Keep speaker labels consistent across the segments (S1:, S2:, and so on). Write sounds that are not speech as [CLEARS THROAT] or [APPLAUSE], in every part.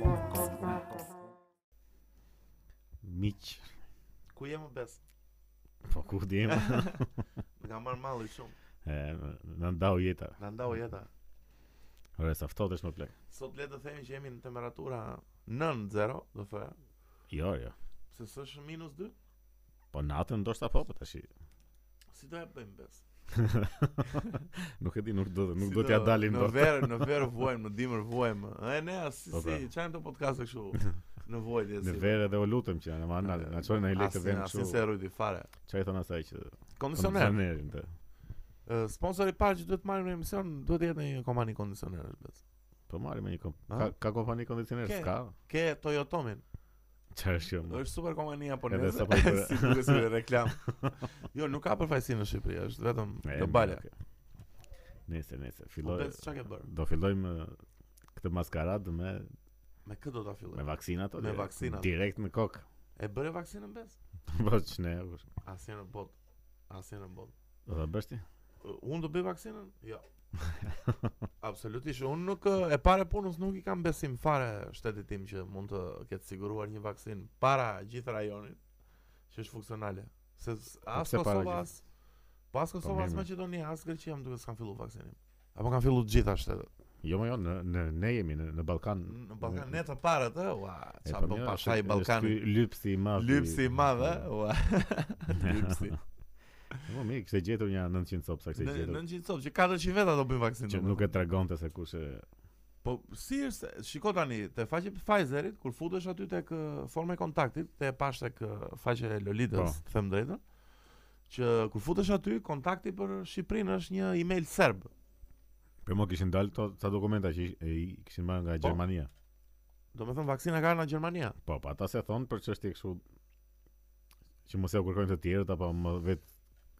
S1: [LAUGHS]
S2: [LAUGHS]
S1: po ku dihem.
S2: Më ka marrë malli shumë.
S1: E, na ndau jeta.
S2: Na ndau jeta.
S1: Ore, sa ftohtë është më plak.
S2: Sot le të themi që jemi në temperatura 9-0, do thoya.
S1: Jo, jo.
S2: Pse s'është minus 2?
S1: Po natën ndoshta po, po tash.
S2: Si do e bëjmë bes?
S1: nuk e di, nuk do nuk
S2: Si
S1: do t'ja dalim
S2: Në
S1: dot.
S2: verë,
S1: [LAUGHS]
S2: në verë vuajmë, në dimër vuajmë. E ne as si,
S1: Po, pra.
S2: si çajm të podcaste
S1: [LAUGHS]
S2: kështu. Në vojtje si.
S1: Në verë edhe u lutem që na na na çojnë në një lekë
S2: Asin-
S1: vend
S2: asin
S1: kështu.
S2: se rriti fare.
S1: Çfarë i thon asaj që
S2: Kondicioner.
S1: kondicionerin të.
S2: Ë, Sponsori i parë që duhet marrim në emision duhet të jetë një kompani kondicionerësh bes.
S1: Po marrim me një kom...
S2: A?
S1: ka, ka kompani kondicioner
S2: Ah. Ke.
S1: s'ka.
S2: Ke Toyotomin.
S1: Çfarë është kjo? mo?
S2: Është super kompani
S1: Edhe
S2: [LAUGHS] japoneze.
S1: sa po i bëre.
S2: si duket si
S1: [LAUGHS]
S2: reklam. Jo, nuk ka përfaqësi në Shqipëri, është vetëm
S1: E,
S2: globale.
S1: mirë, okay. Nese, nese,
S2: Po
S1: filloj.
S2: bes çka ke bërë?
S1: Do fillojmë eh, këtë maskaradë me
S2: Me kë do ta
S1: me
S2: filloj?
S1: vaksinat
S2: Me
S1: direkt-
S2: vaksinat.
S1: direkt në kokë. [LAUGHS]
S2: E bëre vaksinën bes?
S1: Po ç'ne? ush.
S2: Asnjë në botë. Asnjë në botë.
S1: Do ta bësh ti?
S2: Ë, Unë do bëj vaksinën? Jo. [LAUGHS] Absolutisht, unë nuk ë, e pare punës nuk i kam besim fare shtetit tim që mund të ketë siguruar një vaksinë para gjithë rajonin që është funksionale. Se s- as
S1: pse para
S2: Kosova
S1: gjithë?
S2: as Po as Kosova
S1: mirë,
S2: as
S1: mirë.
S2: Maqedonia as Greqia më duket s'kan filluar vaksinim. Apo kanë filluar të gjitha shtetet.
S1: Jo, më jo, në, në ne jemi në, në Ballkan.
S2: Në Ballkan ne të parët, ë, ua,
S1: E,
S2: çfarë
S1: po
S2: bën
S1: mirë,
S2: pasha i
S1: është-
S2: [LAUGHS] Ballkanit.
S1: është ky lypsi i madh. i-
S2: Lypsi i madh,
S1: [LAUGHS]
S2: eh? ë, ua. [LAUGHS] Lypsi.
S1: Po mirë, kishte gjetur një 900 copsa, kishte
S2: Në
S1: gjetur.
S2: 900 sot që 400 veta do bëjnë vaksinë.
S1: Që
S2: domethënë.
S1: nuk e tregonte se kush e
S2: Po si është, shiko tani, te faqja e Pfizerit kur futesh aty tek ë, forma e kontaktit, te e pash tek ë, faqja e Lolitës,
S1: Po.
S2: të them drejtën, që kur futesh aty kontakti për Shqipërinë është një email serb.
S1: Për më kishin dalë këto ca dokumenta që i- e i kishin marrë nga
S2: Po.
S1: Gjermania.
S2: Do me thënë vaksina ka ardhur nga Gjermania.
S1: Po, po ata se thonë për çështje kështu që mos e u kërkojnë të tjerët apo më vet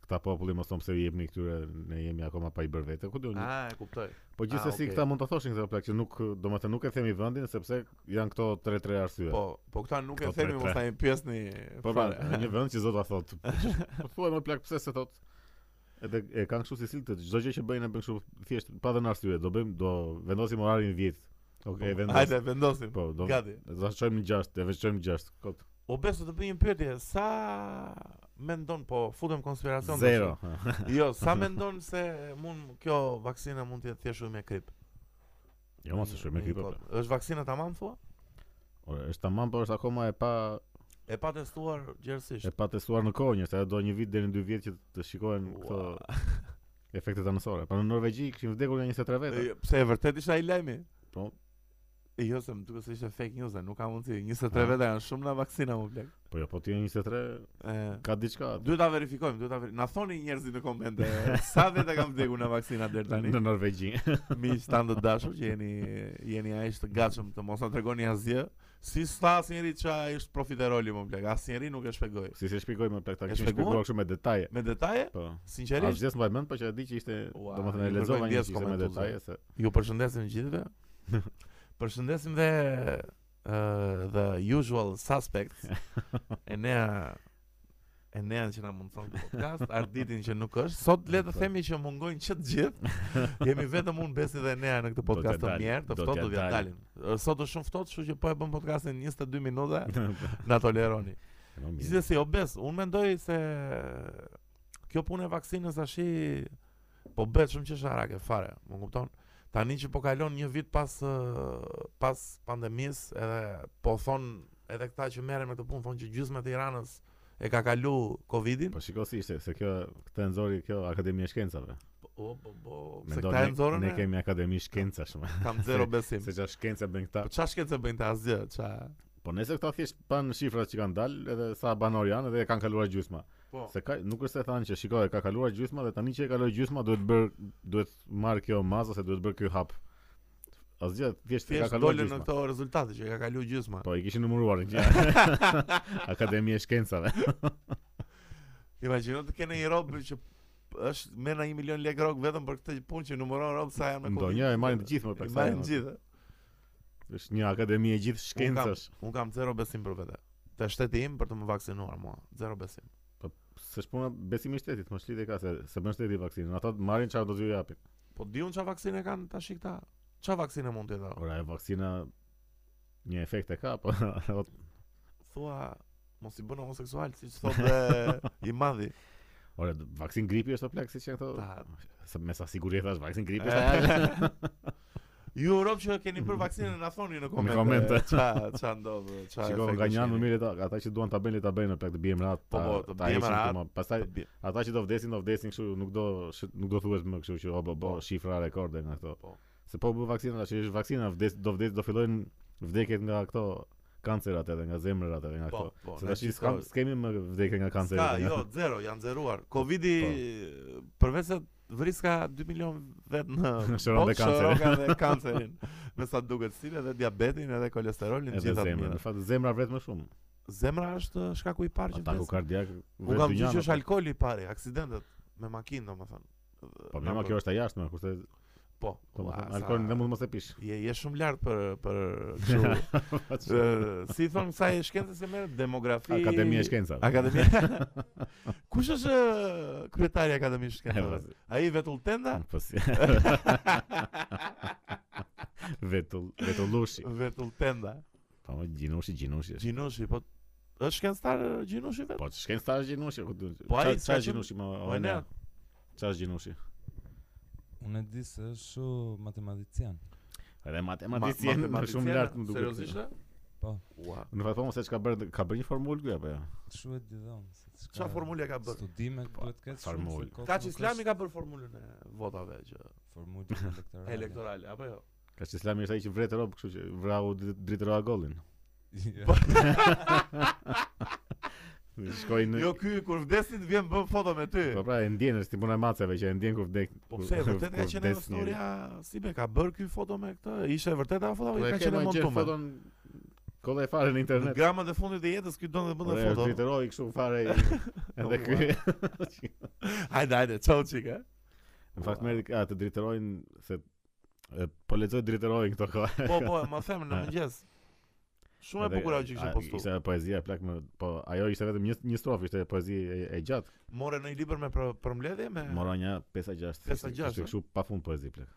S1: këta populli mos thonë pse i jepni këtyre, ne jemi akoma pa i bërë vete. Ku do një-
S2: Ah, e kuptoj.
S1: Po gjithsesi
S2: ah, okay.
S1: këta mund ta thoshin këta plak që nuk, domethënë nuk e themi vendin sepse janë këto 3-3 arsye.
S2: Po, po këta nuk e
S1: Këto
S2: themi
S1: tre,
S2: mos
S1: tre.
S2: tani pjesë një
S1: Po pra, në një vend që zota
S2: [LAUGHS]
S1: thot. Po thuaj më plak pse se thot. Edhe e kanë kështu si siltë, çdo gjë që bëjnë e bën kështu thjesht pa dhënë arsye. Do bëjmë do vendosim orarin 10. Okej,
S2: Po,
S1: vendos.
S2: Hajde vendosim.
S1: Po, do.
S2: Gati.
S1: Do ta çojmë në 6, e veçojmë 6. Kot.
S2: O beso të bëj një pyetje, sa mendon po futem konspiracion tash.
S1: 0.
S2: Jo, sa mendon se mund kjo vaksina mund të jetë thjesht me krip?
S1: [LAUGHS] Jo, mos e shkoj me
S2: Një
S1: kripo.
S2: kop. Po, Është vaksina tamam thua?
S1: Ora, është tamam, por është akoma e pa
S2: E pa testuar gjerësisht.
S1: e pa testuar në kohë, njerëz, ajo do një vit deri në 2 vjet që të shikohen këto
S2: Ua.
S1: efektet anësore. Po në Norvegji kishin vdekur nga 23 veta.
S2: E, Pse e vërtet ishte ai lajmi?
S1: Po.
S2: E, Jo, se më duket se ishte fake news, e, nuk ka mundësi. 23 veta janë shumë na vaksina më plak.
S1: Po jo, po ti je 23
S2: E,
S1: ka diçka. aty.
S2: Duhet ta verifikojmë, duhet ta veri... Na thoni njerëzit në komente sa veta kanë vdekur në vaksina deri tani.
S1: Në Norvegji.
S2: Miq tan të dashur që jeni jeni aq të gatshëm të mos na tregoni asgjë. Si sa asnjëri ç'a është profiteroli më plak, asnjëri nuk e shpjegoi.
S1: Po Si se shpjegoj më plak ta
S2: E
S1: kishin
S2: shpjeguar?
S1: shpjeguar kështu me detaje.
S2: Me detaje,
S1: Po. A
S2: sinqerisht,
S1: vdes mbaj mend, po që e di që ishte,
S2: Ua,
S1: domethënë e
S2: ju kërkoj
S1: lexova një
S2: ndjes
S1: që ishte me
S2: komentuesve.
S1: detaje
S2: [LAUGHS]
S1: se
S2: Ju përshëndesim gjithëve.
S1: [LAUGHS]
S2: përshëndesim dhe uh, the usual
S1: [LAUGHS]
S2: suspects. Enea Enea që na mundson këtë podcast, Arditin që nuk është. Sot le të themi që mungojnë që të gjithë.
S1: [LAUGHS]
S2: Jemi vetëm unë Besi dhe Enea në këtë
S1: t'ja
S2: podcast të
S1: dalim,
S2: mjerë, të
S1: do
S2: ftohtë
S1: t'ja
S2: do t'ja
S1: dalim.
S2: dalim. Ë, Sot është shumë ftohtë, kështu që po e bëm podcastin 22 minuta,
S1: [LAUGHS]
S2: na toleroni.
S1: Po mirë.
S2: Gjithsesi, obes, unë mendoj se kjo punë e vaksinës tash po bëhet shumë qesharake fare, më kupton? Tani që po kalon një vit pas ë, pas pandemisë, edhe po thon edhe këta që merren me këtë punë thonë që gjysma e Tiranës e ka kalu Covidin.
S1: Po shiko si ishte, se kjo këtë e nxori kjo Akademia e Shkencave.
S2: Po, o, po, po, se
S1: Mendo,
S2: këta e nxorën
S1: ne
S2: e-
S1: kemi Akademi Shkencash
S2: [LAUGHS]
S1: më.
S2: kam zero besim.
S1: [LAUGHS] Se çfarë shkenca bën këta.
S2: Po çfarë shkencë bëjnë ta asgjë, ça.
S1: Po nëse këta thjesht pan shifrat që kanë dalë edhe sa banor janë edhe e kanë kaluar gjysma.
S2: Po.
S1: Se ka nuk është se thanë që shiko e ka kaluar gjysma dhe tani që e kaloi gjysma duhet bër duhet marr kjo mazë ose duhet bër ky hap. Asgjë, thjesht e ka
S2: Thjesht
S1: kaluar
S2: dolën në
S1: gjysma.
S2: këto rezultate që e ka kalu gjysma.
S1: Po i kishin numëruar
S2: [LAUGHS]
S1: në Akademia e Shkencave.
S2: Imagjino të kene një rob që është merr na 1 milion lekë rrok vetëm për këtë punë që numëron rob sa janë me Covid.
S1: Ndonjë e marrin të gjithë më
S2: I
S1: pak. jo.
S2: marrin gjithë.
S1: Është një akademi e gjithë
S2: Unë kam,
S1: shkencash.
S2: un kam zero besim për vete. Te shteti im për të më vaksinuar mua, zero besim.
S1: Se shpuna besimi i shtetit, më shlidhe ka se se bën shteti vaksinën. Ata marrin çfarë do t'ju japin.
S2: Po di unë çfarë vaksine kanë tash këta? Çfarë vaksine mund të jetë?
S1: Ora e vaksina një efekt e ka, po [LAUGHS] [LAUGHS]
S2: Thua mos eh, i bën homoseksual siç thotë i madhi.
S1: Ore, d- vaksin gripi është o plak si që janë këto.
S2: Ta,
S1: Se me sa siguri e thash, vaksin gripi
S2: [LAUGHS]
S1: është.
S2: E, Ju Europë që keni për vaksinën na thoni në komente.
S1: komente.
S2: Ça ça ndodh,
S1: [LAUGHS]
S2: ça.
S1: Shiko, nga një anë më mirë ata, ata që duan ta bëjnë le ta bëjnë, plak të bijem rat.
S2: Po, po, të bijem rahat.
S1: Pastaj ata që do vdesin, do vdesin kështu, nuk do sh- nuk do thuhet më kështu që o bo, bo
S2: Po.
S1: shifra rekorde nga këto.
S2: Po.
S1: Se po bë vaksina, tash është vaksina, vdes do vdes do fillojnë vdekjet nga këto kancerat edhe nga zemrat edhe nga
S2: Po,
S1: këto.
S2: po.
S1: Se
S2: na
S1: tash i
S2: shiko-
S1: s'kam s'kemi më vdekje nga kanceri.
S2: Ska, jo, zero, janë zeruar. Covidi
S1: Po.
S2: përveç se vris ka 2 milion vet
S1: [LAUGHS]
S2: në
S1: Shëron dhe
S2: botë,
S1: kancerin.
S2: shëron
S1: [LAUGHS]
S2: dhe kancerin. Me sa duket si edhe diabetin edhe kolesterolin
S1: Edhe
S2: gjithë atë
S1: zemra. Në
S2: mirë.
S1: fakt zemra vret më shumë.
S2: Zemra është shkaku i parë që
S1: Ataku
S2: vdes.
S1: kardiak.
S2: Unë kam gjë që është alkooli i parë, aksidentet me makinë domethënë.
S1: Po mirë, ma kjo është e jashtme, kurse
S2: Po.
S1: domethënë
S2: ua,
S1: alkoolin
S2: sa-
S1: dhe mund mos e pish.
S2: [LAUGHS] Je je shumë lart për për
S1: [LAUGHS]
S2: kështu. Ë, si thon sa e shkencës e merr demografi.
S1: Akademia e Shkencave. [LAUGHS]
S2: Akademia. Kush është ë, kryetari i Akademisë
S1: [LAUGHS]
S2: Shkencave? Ai vetull tenda?
S1: Po si. [LAUGHS] Vetull, vetullushi.
S2: vetull tenda.
S1: Po më gjinushi, gjinushi. është.
S2: Gjinushi, po është shkencëtar ë, Gjinushi vetë.
S1: Po shkencëtar është gjinushi, ku duhet.
S2: Po ai
S1: çfarë është
S2: s'ka qenë-
S1: gjinushi më
S2: Po e ne.
S1: Çfarë është gjinushi?
S3: Unë e di se është shumë matematician.
S1: Edhe matematikën më shumë lart më duket.
S2: Seriozisht? ë?
S3: Po.
S2: Ua.
S1: Në fakt po mos e çka bërë, ka bërë një formulë ky apo jo?
S3: Shumë e di dhon se çka.
S2: Çfarë formule ka bërë?
S3: Studimet
S1: Po,
S3: duhet ketë shumë
S1: formul.
S3: se kokë
S2: Kaç
S3: nuk
S2: Islami
S3: është
S2: ka bërë formulën e votave që
S3: formulë
S1: [LAUGHS]
S3: elektorale.
S2: elektorale apo jo?
S1: Ka që Islami është ai që vretë rob, kështu që vrau dri- dritë roa gollin.
S3: [LAUGHS] Jo,
S1: Shkoi në
S2: Jo ky kur vdesin vjen bën foto me ty.
S1: Po pra e ndjen është tipun e maceve që e ndjen kur vdek.
S2: Po pse e vërtet ka
S1: kur
S2: qenë
S1: vdes njeri.
S2: historia si be ka bër ky foto me këtë? Ishte e vërtet ajo foto
S1: Po
S2: apo
S1: e
S2: jo? ka
S1: ke
S2: qenë e
S1: më gjë
S2: montuar?
S1: foton kolla e fare në
S2: Në
S1: internet.
S2: gramën e fundit të jetës ky don të
S1: Po
S2: bënte
S1: e
S2: foto.
S1: Twitteroi kështu fare
S2: [LAUGHS]
S1: i- edhe
S2: Oh,
S1: ky.
S2: Hajde, hajde, çau çika.
S1: [LAUGHS] Në fakt merri a të driterojnë se e, po lexoj driterojnë këto kohë.
S2: Po, po, ma them në
S1: A.
S2: mëngjes. Shumë e
S1: Edhe,
S2: bukur ajo që
S1: a,
S2: kishin postuar.
S1: Ishte poezia plak më, po ajo ishte vetëm një një strofë, ishte poezi e, e gjatë.
S2: Morën në një libër me për, përmbledhje me
S1: Mora një 5-6.
S2: 5-6,
S1: Ishte
S2: a?
S1: kështu pafund poezi plak.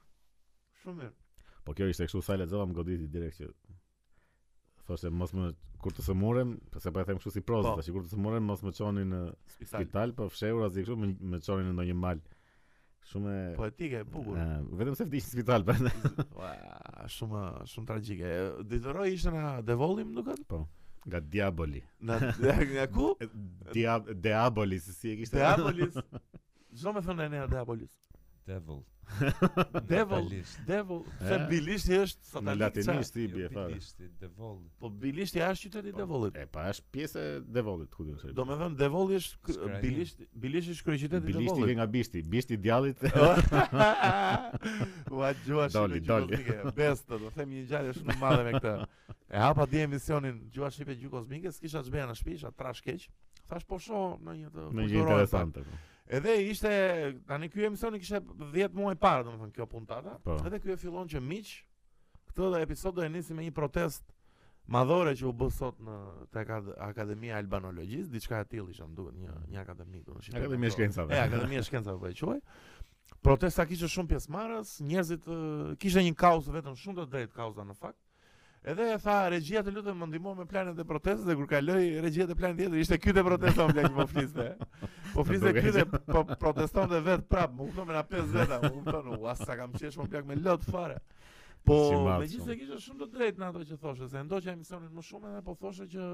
S2: shumë mirë.
S1: Po kjo ishte kështu sa e lexova më goditi direkt që thoshte mos më kur të sëmurem, pse po e them kështu si prozë,
S2: Po.
S1: tash kur të sëmurem mos më çoni në
S2: Spital.
S1: spital, po fshehur as kështu më, më çoni në ndonjë mal. Shumë e
S2: Poetike Po e bukur.
S1: e, vetëm se vdiq në spital po. [LAUGHS]
S2: Ua, shumë shumë tragjike. Ditëroj ishte na Devolli, më duket?
S1: Nga diaboli.
S2: Na nga ku?
S1: E, Dia diaboli se si e kishte.
S2: Deapolis. Çdo me thënë Enea Deapolis.
S3: devil.
S2: Devil.
S3: Natalisht.
S2: Devil, se
S1: E?
S2: bilishti është
S1: [LAUGHS] Në
S2: satanik.
S1: latinisht
S2: qa?
S1: i bie
S3: Jo,
S1: fare.
S3: bilishti, devil.
S2: Po bilishti është qyteti i Devollit.
S1: E pa është pjesë e devollit ku do të
S2: Do me thënë Devolli është kë-
S3: Skrajni.
S2: bilishti, bilishti është kryeqyteti i
S1: Bilishti vjen
S2: Devollit.
S1: nga bishti, bishti i
S2: [LAUGHS]
S1: djallit.
S2: Ua gjua
S1: Doli,
S2: shipe
S1: doli.
S2: gjukosmike Best do them një ngjarje shumë të madhe me këtë E hapa di emisionin gjua shipe gjukosmike S'kisha të zbeja në shtëpi, isha trash keq Thash po shoh në një të
S1: Në gjë
S2: kulturore,
S1: interesante.
S2: pa. Edhe ishte, tani ky emisioni kishte 10 muaj parë domethënë kjo puntata
S1: Po.
S2: Edhe ky e fillon që miq Këtë dhe episod do e nisi me një protest madhore që u bë sot në tek Ad- Akademia e Albanologjisë, diçka e tillë ishte, më duket një një akademi këtu në Shqipëri.
S1: Akademia e shkencave.
S2: E, Akademia e Shkencave po e quaj. Protesta kishte shumë pjesëmarrës, njerëzit ë, kishte një kauzë vetëm shumë të drejtë kauza në fakt. Edhe e tha regjia të lutem më ndihmo me planet e protestës dhe kur kaloi regjia te plani tjetër ishte ky te proteston bla që po fliste. Po fliste
S1: Nuk e
S2: ky te po protestonte vet prap, më kupton me na 50, më kupton, ua sa kam qesh po më plak me lot fare. Po
S1: Si madh
S2: megjithëse
S1: shumë.
S2: kishte shumë të drejtë në ato që thoshte, se ndoqja emisionin më shumë edhe po thoshte që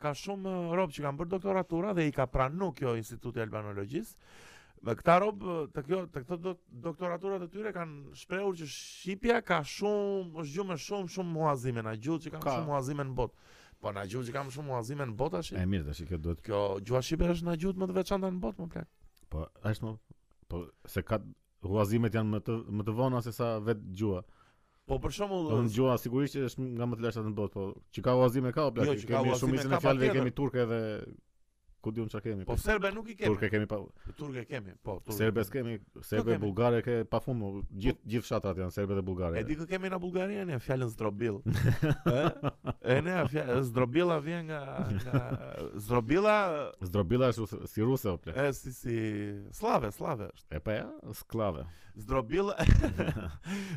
S2: ka shumë eh, rob që kanë bërë doktoratura dhe i ka pranu kjo Instituti i Albanologjisë. Dhe këta rob eh, të kjo të këto do- doktoraturat e tyre kanë shprehur që Shqipja ka shumë është gjumë shumë shumë muazime na gjuhë që kanë
S1: Ka.
S2: shumë muazime në botë. Po na gjuhë që kanë shumë muazime në botë tash.
S1: E mirë, tash kjo duhet.
S2: Kjo gjuha shqipe është na gjuhët më të veçanta në botë, më plak.
S1: Po, është më po se ka huazimet janë më të më të vona se sa vet gjua.
S2: Po për shembull,
S1: Do të gjua sigurisht që është nga më të lashtat në botë, po që ka huazime ka o plak,
S2: Jo,
S1: që
S2: që ka
S1: kemi
S2: huazime
S1: shumë isën
S2: ka
S1: e fjalëve
S2: patjetër.
S1: kemi turke dhe ku diun çka kemi.
S2: po serbe nuk i kemi.
S1: turke kemi pa
S2: Turke kemi, po, turke.
S1: serbe kemi, serbe
S2: kemi.
S1: bulgare ke pafund, mo, gjithë gjithë fshatrat janë serbe dhe bulgare.
S2: E di kë kemi në Bullgari ne fjalën zdrobill.
S1: [LAUGHS]
S2: Ë? e ne fjalë zdrobilla vjen nga nga zdrobilla
S1: Zdrobilla është us- si ruse o plak.
S2: e si si slave, slave është.
S1: E pa ja, sklave.
S2: [LAUGHS] Zdrobilla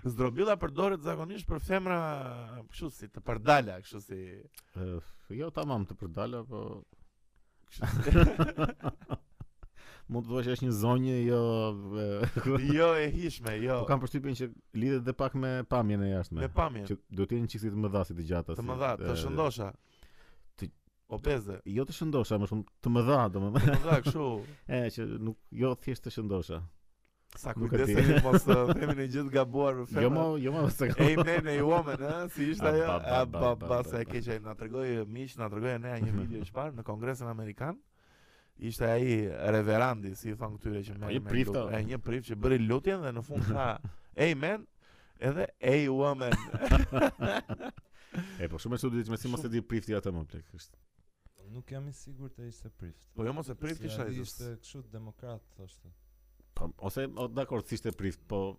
S2: zdrobilla përdoret zakonisht për femra kështu si të përdala, kështu si
S1: E, Jo, tamam të përdala, po
S2: kështu si
S1: mund të thuash që është një zonjë jo [LAUGHS] e,
S2: Jo e hishme, jo.
S1: Po kam përshtypjen që lidhet edhe pak me pamjen e jashtme.
S2: Me pamjen.
S1: Që duhet të jenë çiksi të mëdha si të gjata.
S2: Të
S1: si,
S2: më dha, të
S1: e,
S2: shëndosha.
S1: ti- [LAUGHS]
S2: Obeze.
S1: Jo të shëndosha, më shumë të mëdha, domethënë. [LAUGHS]
S2: Të më dha kështu.
S1: E që nuk jo thjesht të shëndosha.
S2: Sa
S1: Nuk e di.
S2: kujdeseni mos ë, themi në gjithë gabuar në
S1: Jo më, jo më se
S2: [LAUGHS] Ej jo. men e woman, ha, si ishte ajo?
S1: A, ba, ba,
S2: A ba
S1: ba,
S2: ba
S1: ba,
S2: sa e
S1: ba.
S2: keqe na tregoi miq, na tregoi ne
S1: [LAUGHS]
S2: një video që parë në Kongresin Amerikan. Ishte ai reverandi, si i thon këtyre që
S1: Po,
S2: merr
S1: një
S2: me
S1: prift,
S2: lut-
S1: o.
S2: e, një prift që bëri lutjen dhe në
S1: [LAUGHS]
S2: fund tha, "Ej men, edhe ej woman."
S1: E po shumë e çuditshme si mos e di prifti atë më plek. Është
S3: Nuk jam i sigurt të ishte prift.
S2: Po jo mos e prift
S3: Se
S2: ishte
S3: ai
S2: ai.
S3: Ishte kështu demokrat thoshte.
S1: po ose o, dakor si ishte prift, po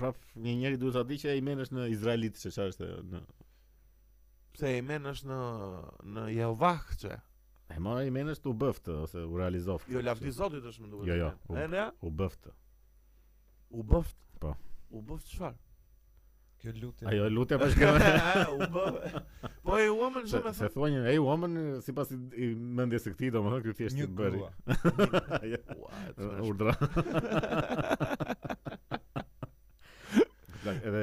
S1: prap një njeri duhet ta di që ai men është në izraelit se çfarë është në
S2: Se ej men është në në Jehovahçe.
S1: E ma ai men është u bëft ose u realizoft.
S2: Jo lavdi Zotit është më duket.
S1: Jo, jo, u-
S2: Amen. E ne
S1: U bëft.
S2: u bëft.
S1: Po.
S2: U bëft çfarë?
S3: Kjo lutje.
S1: Ajo
S2: [LAUGHS]
S1: lutja po shkon.
S2: u bëft. Po ej woman
S1: Se,
S2: shumë e
S1: [LAUGHS] se
S2: thon.
S1: thua një, ej, woman, sipas i, i mendjes së këtij, domethënë ky thjesht i
S3: Një
S1: bëri.
S3: grua.
S1: Ja,
S2: Ua, e
S1: ë,
S2: thua, [LAUGHS]
S1: Urdra. Like, edhe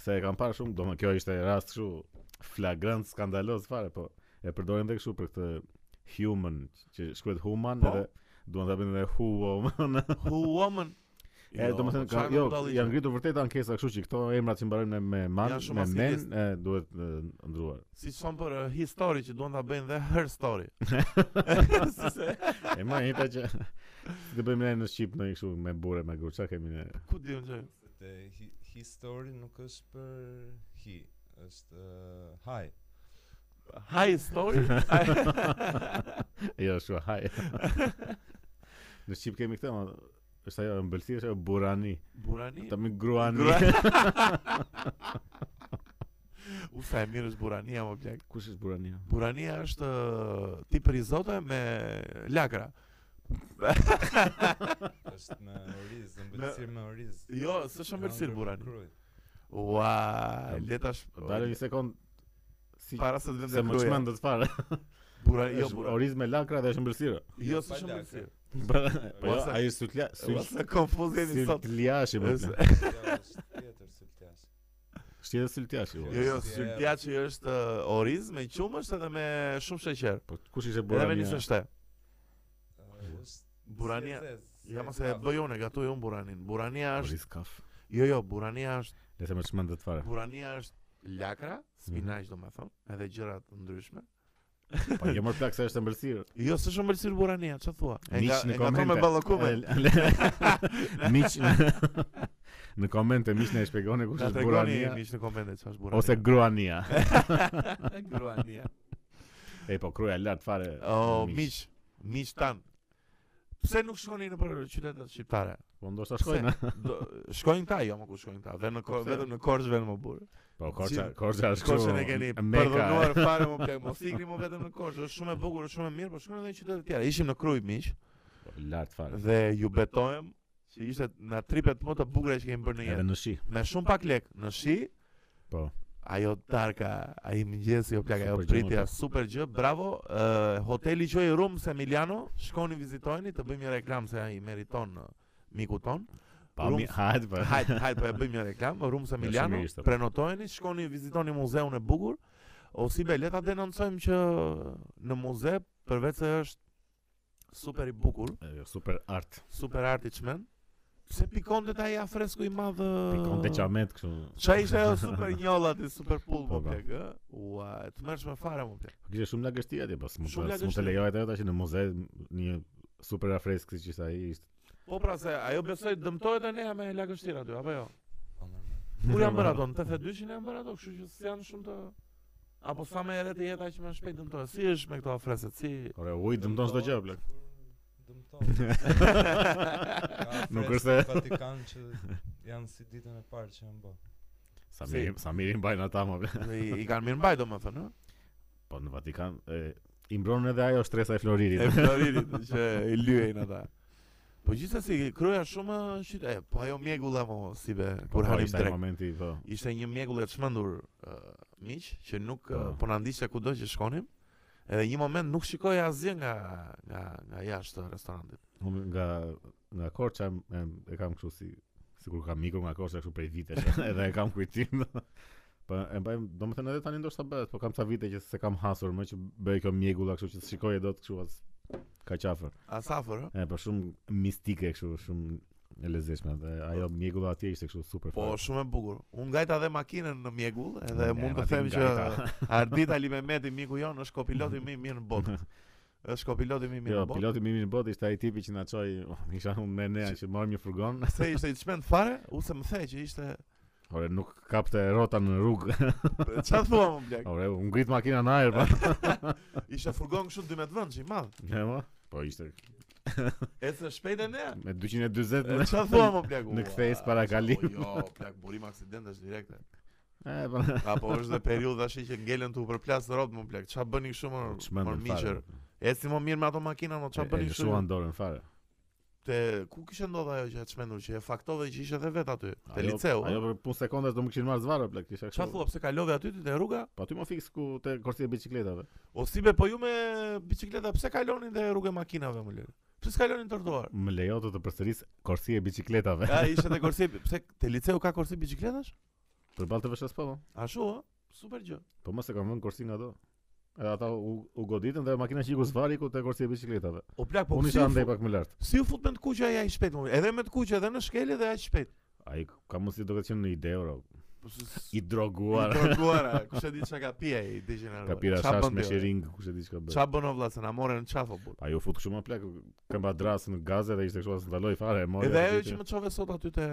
S1: se e kam parë shumë, domethënë kjo ishte rast kështu flagrant skandaloz fare, po e përdorin edhe kështu për këtë human, që shkruhet human
S2: Po.
S1: edhe duan ta bëjnë edhe hu [LAUGHS] woman.
S2: Who woman?
S1: E
S2: po
S1: domethënë ka jo, janë ngritur vërtet ankesa kështu që këto emrat që mbarojnë me me man,
S2: Janë shumë
S1: me men,
S2: asidist.
S1: e, duhet e,
S2: [LAUGHS]
S1: ndruar.
S2: si son për uh, history që duan ta bëjnë dhe her
S1: [LAUGHS]
S2: story. Si se-
S1: E më njëta që [LAUGHS] si të bëjmë ne në Shqip në kështu me burë me gurë, çka kemi ne?
S2: Ku di unë që?
S3: Te hi, history nuk është për hi, është uh, hi.
S2: High
S1: [LAUGHS]
S2: story?
S1: Jo, shua, haj. [LAUGHS] në Shqip kemi këtë, ma, është ajo ëmbëlsirë, është ajo burani,
S2: Burani.
S1: ta me gruani.
S2: U sa e mirë është Burania, më plak.
S1: [LAUGHS] Kush është burani?
S2: Burania është uh, tip rizote me lagra.
S3: është me oriz, ëmbëlsirë me oriz.
S2: Jo, s'është ëmbëlsirë
S3: Ëmbëlsirë
S2: burani.
S3: kruj.
S2: Ua, leta
S1: Dale
S2: sh...
S1: një sekond, Po si
S2: Para se të
S1: se
S2: vendë
S1: më
S2: kruja.
S1: çmend do të fare.
S2: Burani, [LAUGHS] jo,
S1: Është
S2: burani.
S1: Oriz me lakra dhe është [LAUGHS] ëmbëlsirë.
S2: Jo,
S3: Pa
S2: s'është
S3: lagra.
S2: ëmbëlsirë.
S1: Po jo,
S2: Ose-
S1: ai është sutlia,
S2: Ua, se konfuzjeni sot.
S1: sutliashi më.
S2: Ose-
S3: Jo, është tjetër sultash.
S1: Është edhe sutliashi.
S2: Jo, jo,
S3: Si e-
S2: syltjaçi është ë, oriz me qumësht edhe me shumë sheqer.
S1: Po kush ishte
S2: Edhe me
S1: burani?
S2: nisë shte.
S3: Ë, Është
S2: Burania.
S3: si e zezë, si
S2: Ja
S3: e
S2: mos e
S3: prapë.
S2: bëj unë, gatoj unë buranin. Burania është,
S1: Oriz kaf.
S2: jo jo, burania është,
S1: Le të më çmend do të
S2: Po.
S1: fare.
S2: burania është lakra,
S1: Mhm.
S2: spinaq domethënë, edhe gjëra të ndryshme.
S1: Po jo më plak se është ëmbëlsirë.
S2: Jo, s'është ëmbëlsirë burania, ç'a thua? E
S1: Miq
S2: nga
S1: në
S2: e nga
S1: komente.
S2: me ballakume.
S1: E,
S2: [LAUGHS]
S1: [LAUGHS] le- Miq [LAUGHS] në- në komente miq na e shpjegoni kush
S2: Na
S1: është
S2: tregoni
S1: burania
S2: miq në komente ç'është burania.
S1: ose gruania.
S2: [LAUGHS] gruania.
S1: E po kruaja lart fare.
S2: O
S1: miq.
S2: miq, miq tan. Pse nuk shkoni në për qytetet shqiptare?
S1: Po ndoshta shkojnë. a?
S2: Do, shkojnë ta, jo më ku shkojnë ta, dhe në ko,
S1: pse?
S2: vetëm në Korçë vetëm më burr.
S1: Po Korça,
S2: Gjithë-
S1: Korça është.
S2: Korçën e
S1: kru-
S2: keni
S1: Meka, e.
S2: përdhunuar fare
S1: [LAUGHS]
S2: më plak, mos ikni më vetëm në Korçë, është shumë e bukur, është shumë e mirë, por shkoni edhe në qytete të tjera. Ishim në Kruj miq
S1: Po, Lart fare.
S2: dhe ju betohem që ishte na tripet më të bukura që kemi bërë në
S1: Edhe
S2: jetë.
S1: në shi.
S2: Me shumë pak lek në shi.
S1: Po.
S2: Ajo darka, ai mëngjesi, jo plak, ajo
S1: Super gjë, më
S2: pritja,
S1: plak.
S2: super gjë, bravo. Ë hoteli Joy Room se Emiliano, shkoni vizitojeni, të bëjmë një reklam se ai meriton ë, miku ton.
S1: Pa
S2: Rums-
S1: mi, hajde po.
S2: Hajde, hajde po e bëjmë një reklam, Room se Emiliano,
S1: mirë ishte.
S2: prenotojeni, shkoni vizitoni muzeun e bukur. O si be, le ta denoncojmë që në muze përveç se është super i bukur,
S1: E, jo, Super art.
S2: super art i çmend, pse pikon të ai afresku i madh. ë,
S1: Pikon te çamet kështu.
S2: Qa ishte ajo super njolla ti super pull
S1: Po,
S2: më
S1: po.
S2: plek, ë? Ua, e të mërsh me fare më plek.
S1: Kishte shumë lagështi atje, po s'mund
S2: Shumë
S1: të s'mund të
S2: lagështi.
S1: lejohet ajo tash në muze një super afresk siç ishte ai ishte.
S2: Po pra se ajo besoj dëmtohet e nea me lagështirë aty, apo jo?
S3: Po, normal.
S2: Kur janë bërë ato, në 82-shin janë bërë ato, kështu që s'janë shumë të... Apo sa me ere të jetë aq më shpejt dëmtohet, si është me këto afreset, si...
S1: Ore, uj, dëmton çdo gjë
S2: [LAUGHS]
S1: blek.
S3: Dëmton.
S1: [LAUGHS] Nuk
S3: Nuk
S1: është se-
S3: është Vatikan që janë si ditën e parë që janë bë.
S1: Sa
S2: Si.
S1: mirë, sa mirë i mbajnë ata më blek.
S2: Dhe I, i kanë mirë mbaj do më thënë, ë?
S1: Po në Vatikan e, i mbronin edhe ajo stresa e Floririt.
S2: e Floririt që i lyejnë ata. Po gjithsesi kroja shumë shit, e, po ajo mjegulla mo, si be, kur
S1: po,
S2: hanim
S1: ishte ai
S2: drek.
S1: momenti po.
S2: ishte një mjekull e çmendur uh, miq që nuk uh,
S1: Po.
S2: po na ndiqte kudo që shkonim Edhe një moment nuk shikoj asgjë nga nga nga jashtë të restorantit.
S1: Unë nga nga Korça em- em- e kam kështu si sikur kam mikur nga Korça kështu prej vitesh, [LAUGHS] edhe e kam kujtim. Po e mbaj, domethënë edhe tani ndoshta bëhet, po kam ca vite që se kam hasur më që bëj kjo mjegulla kështu që të shikoj e dot kështu as ka qafër.
S2: Asafër, ë?
S1: E po shumë mistike kështu, shumë e lezeshme dhe ajo mjegulla atje ishte kështu super.
S2: po
S1: fare.
S2: shumë e bukur. Unë gajta edhe makinën në mjegull, edhe
S1: Ne,
S2: mund të
S1: ma ti
S2: them që
S1: ngajta.
S2: Ardit Ali Mehmeti miku jon është kopiloti më i mirë në botë. Është kopiloti më i mirë
S1: Jo,
S2: në botë.
S1: piloti më i mirë në botë ishte ai tipi që na çoi, [LAUGHS] isha unë me nea që marrim një furgon,
S2: Se ishte i çmend fare, u se më the që ishte
S1: ore nuk kapte rrota në rrugë.
S2: [LAUGHS] çfarë thua më blek?
S1: Ore, u ngrit makina në ajër, po.
S2: [LAUGHS]
S1: pa.
S2: Ishte furgon kështu 12 vëndë që i madh.
S1: Ne mo? Po ishte
S2: Ecë shpejt e nea.
S1: me 240
S2: E
S1: në
S2: Çfarë thua më blek?
S1: Në
S2: Ua,
S1: kthejës para kalim.
S2: po Jo, blek burim aksidentesh direkte.
S1: [LAUGHS] E, po.
S2: Apo është dhe periudha shi që ngelen tu përplas rrot më blek. Ç'a bëni kështu më më miqër? Eci më mirë me ato makina, më ç'a bëni
S1: kështu?
S2: kështu?
S1: Shuan dorën fare.
S2: Te ku kishte ndodhur ajo që e çmendur që e faktove që ishte edhe vet aty, te
S1: Ajo-
S2: liceu.
S1: Ajo për punë sekondash do më kishin marrë zvarë plak, kisha
S2: Ç'a thua pse kalove aty ti te rruga?
S1: Po aty më fiks ku te korsia e bicikletave.
S2: O si be po ju me bicikleta pse kalonin te rrugë e makinave më lirë? Pse s'kalonin
S1: [LAUGHS]
S2: të trotuar?
S1: Më lejo të të përsëris korsia e bicikletave.
S2: Ja, ishte te korsi, pse te liceu ka korsi bicikletash?
S1: Përballë të veshës po. po.
S2: Ashtu, ë? Super gjë.
S1: Po mos e kam vënë korsin nga do. Edhe ata u, u goditën dhe makina që iku zvari ku te korsia e bicikletave.
S2: O plak, po
S1: Unë
S2: si
S1: isha
S2: u
S1: andej
S2: fut,
S1: pak më lart.
S2: si u fut me të kuqe ai aq shpejt? mo? Edhe me të kuqe, edhe në shkelje dhe aq shpejt.
S1: Ai ka mos i do të qenë në ide ora.
S2: Po s- s-
S1: I
S2: [LAUGHS] I
S1: droguar.
S2: Trotuara, kush e di çka ka pije ai degeneruar.
S1: Ka pira
S2: Ç'a
S1: shash
S2: bën
S1: me
S2: ti, ore?
S1: shering, kush e di çka bën.
S2: Ç'a bën o vlla se na morën në po. çafo burr.
S1: Ai u fut kështu më plak, këmba dras në gaze dhe ishte kështu as ndaloi fare. e mori
S2: Edhe
S1: atë
S2: ajo
S1: që-
S2: që më çove sot aty te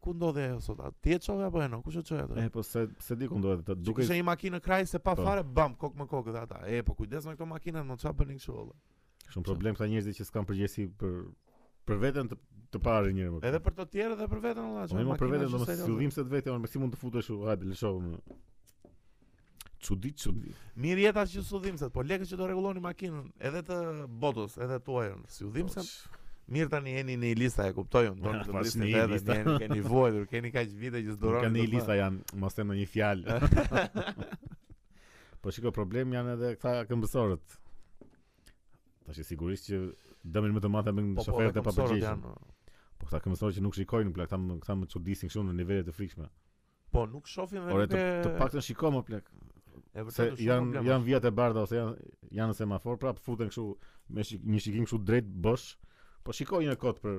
S2: ku ndodhi ajo sot? A Ti e çove apo e no? Kush e çoi atë?
S1: E po se se di ku ndodhet, të
S2: Duke
S1: duke
S2: ishte një makinë kraj se pa
S1: Po.
S2: fare bam kok me kokë dhe ata. E po kujdes me këto makina, më ç'a bënin kështu valla.
S1: Po. shumë problem këta njerëzit që s'kan përgjegjësi për për veten të të parë njëri më.
S2: Edhe për të tjerë dhe për veten valla.
S1: po
S2: çfarë
S1: më për
S2: makina
S1: veten
S2: është
S1: domos
S2: serioze?
S1: fillim se të vetë, unë me si mund të futesh, u, hajde le shohim. Çudi çudi.
S2: Mirë jeta që sudhimset, po lekë që do rregulloni makinën, edhe të botës, edhe tuajën. Si udhimset, Mirë tani jeni në lista, e kuptoj
S1: [LAUGHS]
S2: unë, doni të
S1: Po, Pas
S2: brisni
S1: një
S2: vetë,
S1: lista.
S2: jeni keni vuajtur, keni kaq vite që
S1: Ka
S2: s'duroni. të
S1: një
S2: bëni.
S1: lista janë, mos them ndonjë
S2: [LAUGHS]
S1: fjalë. po shiko problem janë edhe këta këmbësorët. Tash sigurisht që dëmin më të madh e bën
S2: Po po,
S1: shoferët e
S2: edhe këmsorët
S1: papërgjegjshëm.
S2: janë.
S1: Po këta këmbësorë që nuk shikojnë, plak, këta më- këta më çudisin kështu në nivele të frikshme.
S2: Po nuk shohin dhe
S1: Ore
S2: nuk
S1: të,
S2: e
S1: të paktën shiko më plak.
S2: e vërtet
S1: Se
S2: është shumë
S1: janë
S2: problem.
S1: janë vijat e bardha ose janë janë në semafor, prap futen kështu me shik, një shikim kështu drejt bosh. Po shikoj një kot për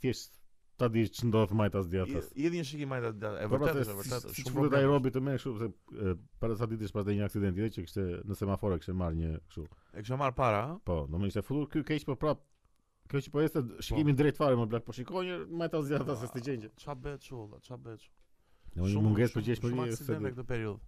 S1: thjesht ta di ç'ndodh majtas
S2: I-
S1: djathtas.
S2: idhin shikim ajta djathtë.
S1: Po,
S2: E
S1: pra,
S2: vërtet është, e vërtet është.
S1: Shumë
S2: shumë
S1: futen ai
S2: problem.
S1: robi të më kështu se e, para sa ditësh pas një aksidenti edhe që kishte në semafor e kishte marrë një kështu.
S2: E kisha marr para, ha?
S1: Po, domun ishte futur ky keq po prap Kjo që po este shikimin drejt fare më blak, po shikoj një majtas djathtas se s'ti gjen gjë.
S2: Ç'a Ah, bëhet çu valla, ç'a bëhet çu.
S1: Në një mungesë përgjegjshmërie se
S2: se në këtë periudhë.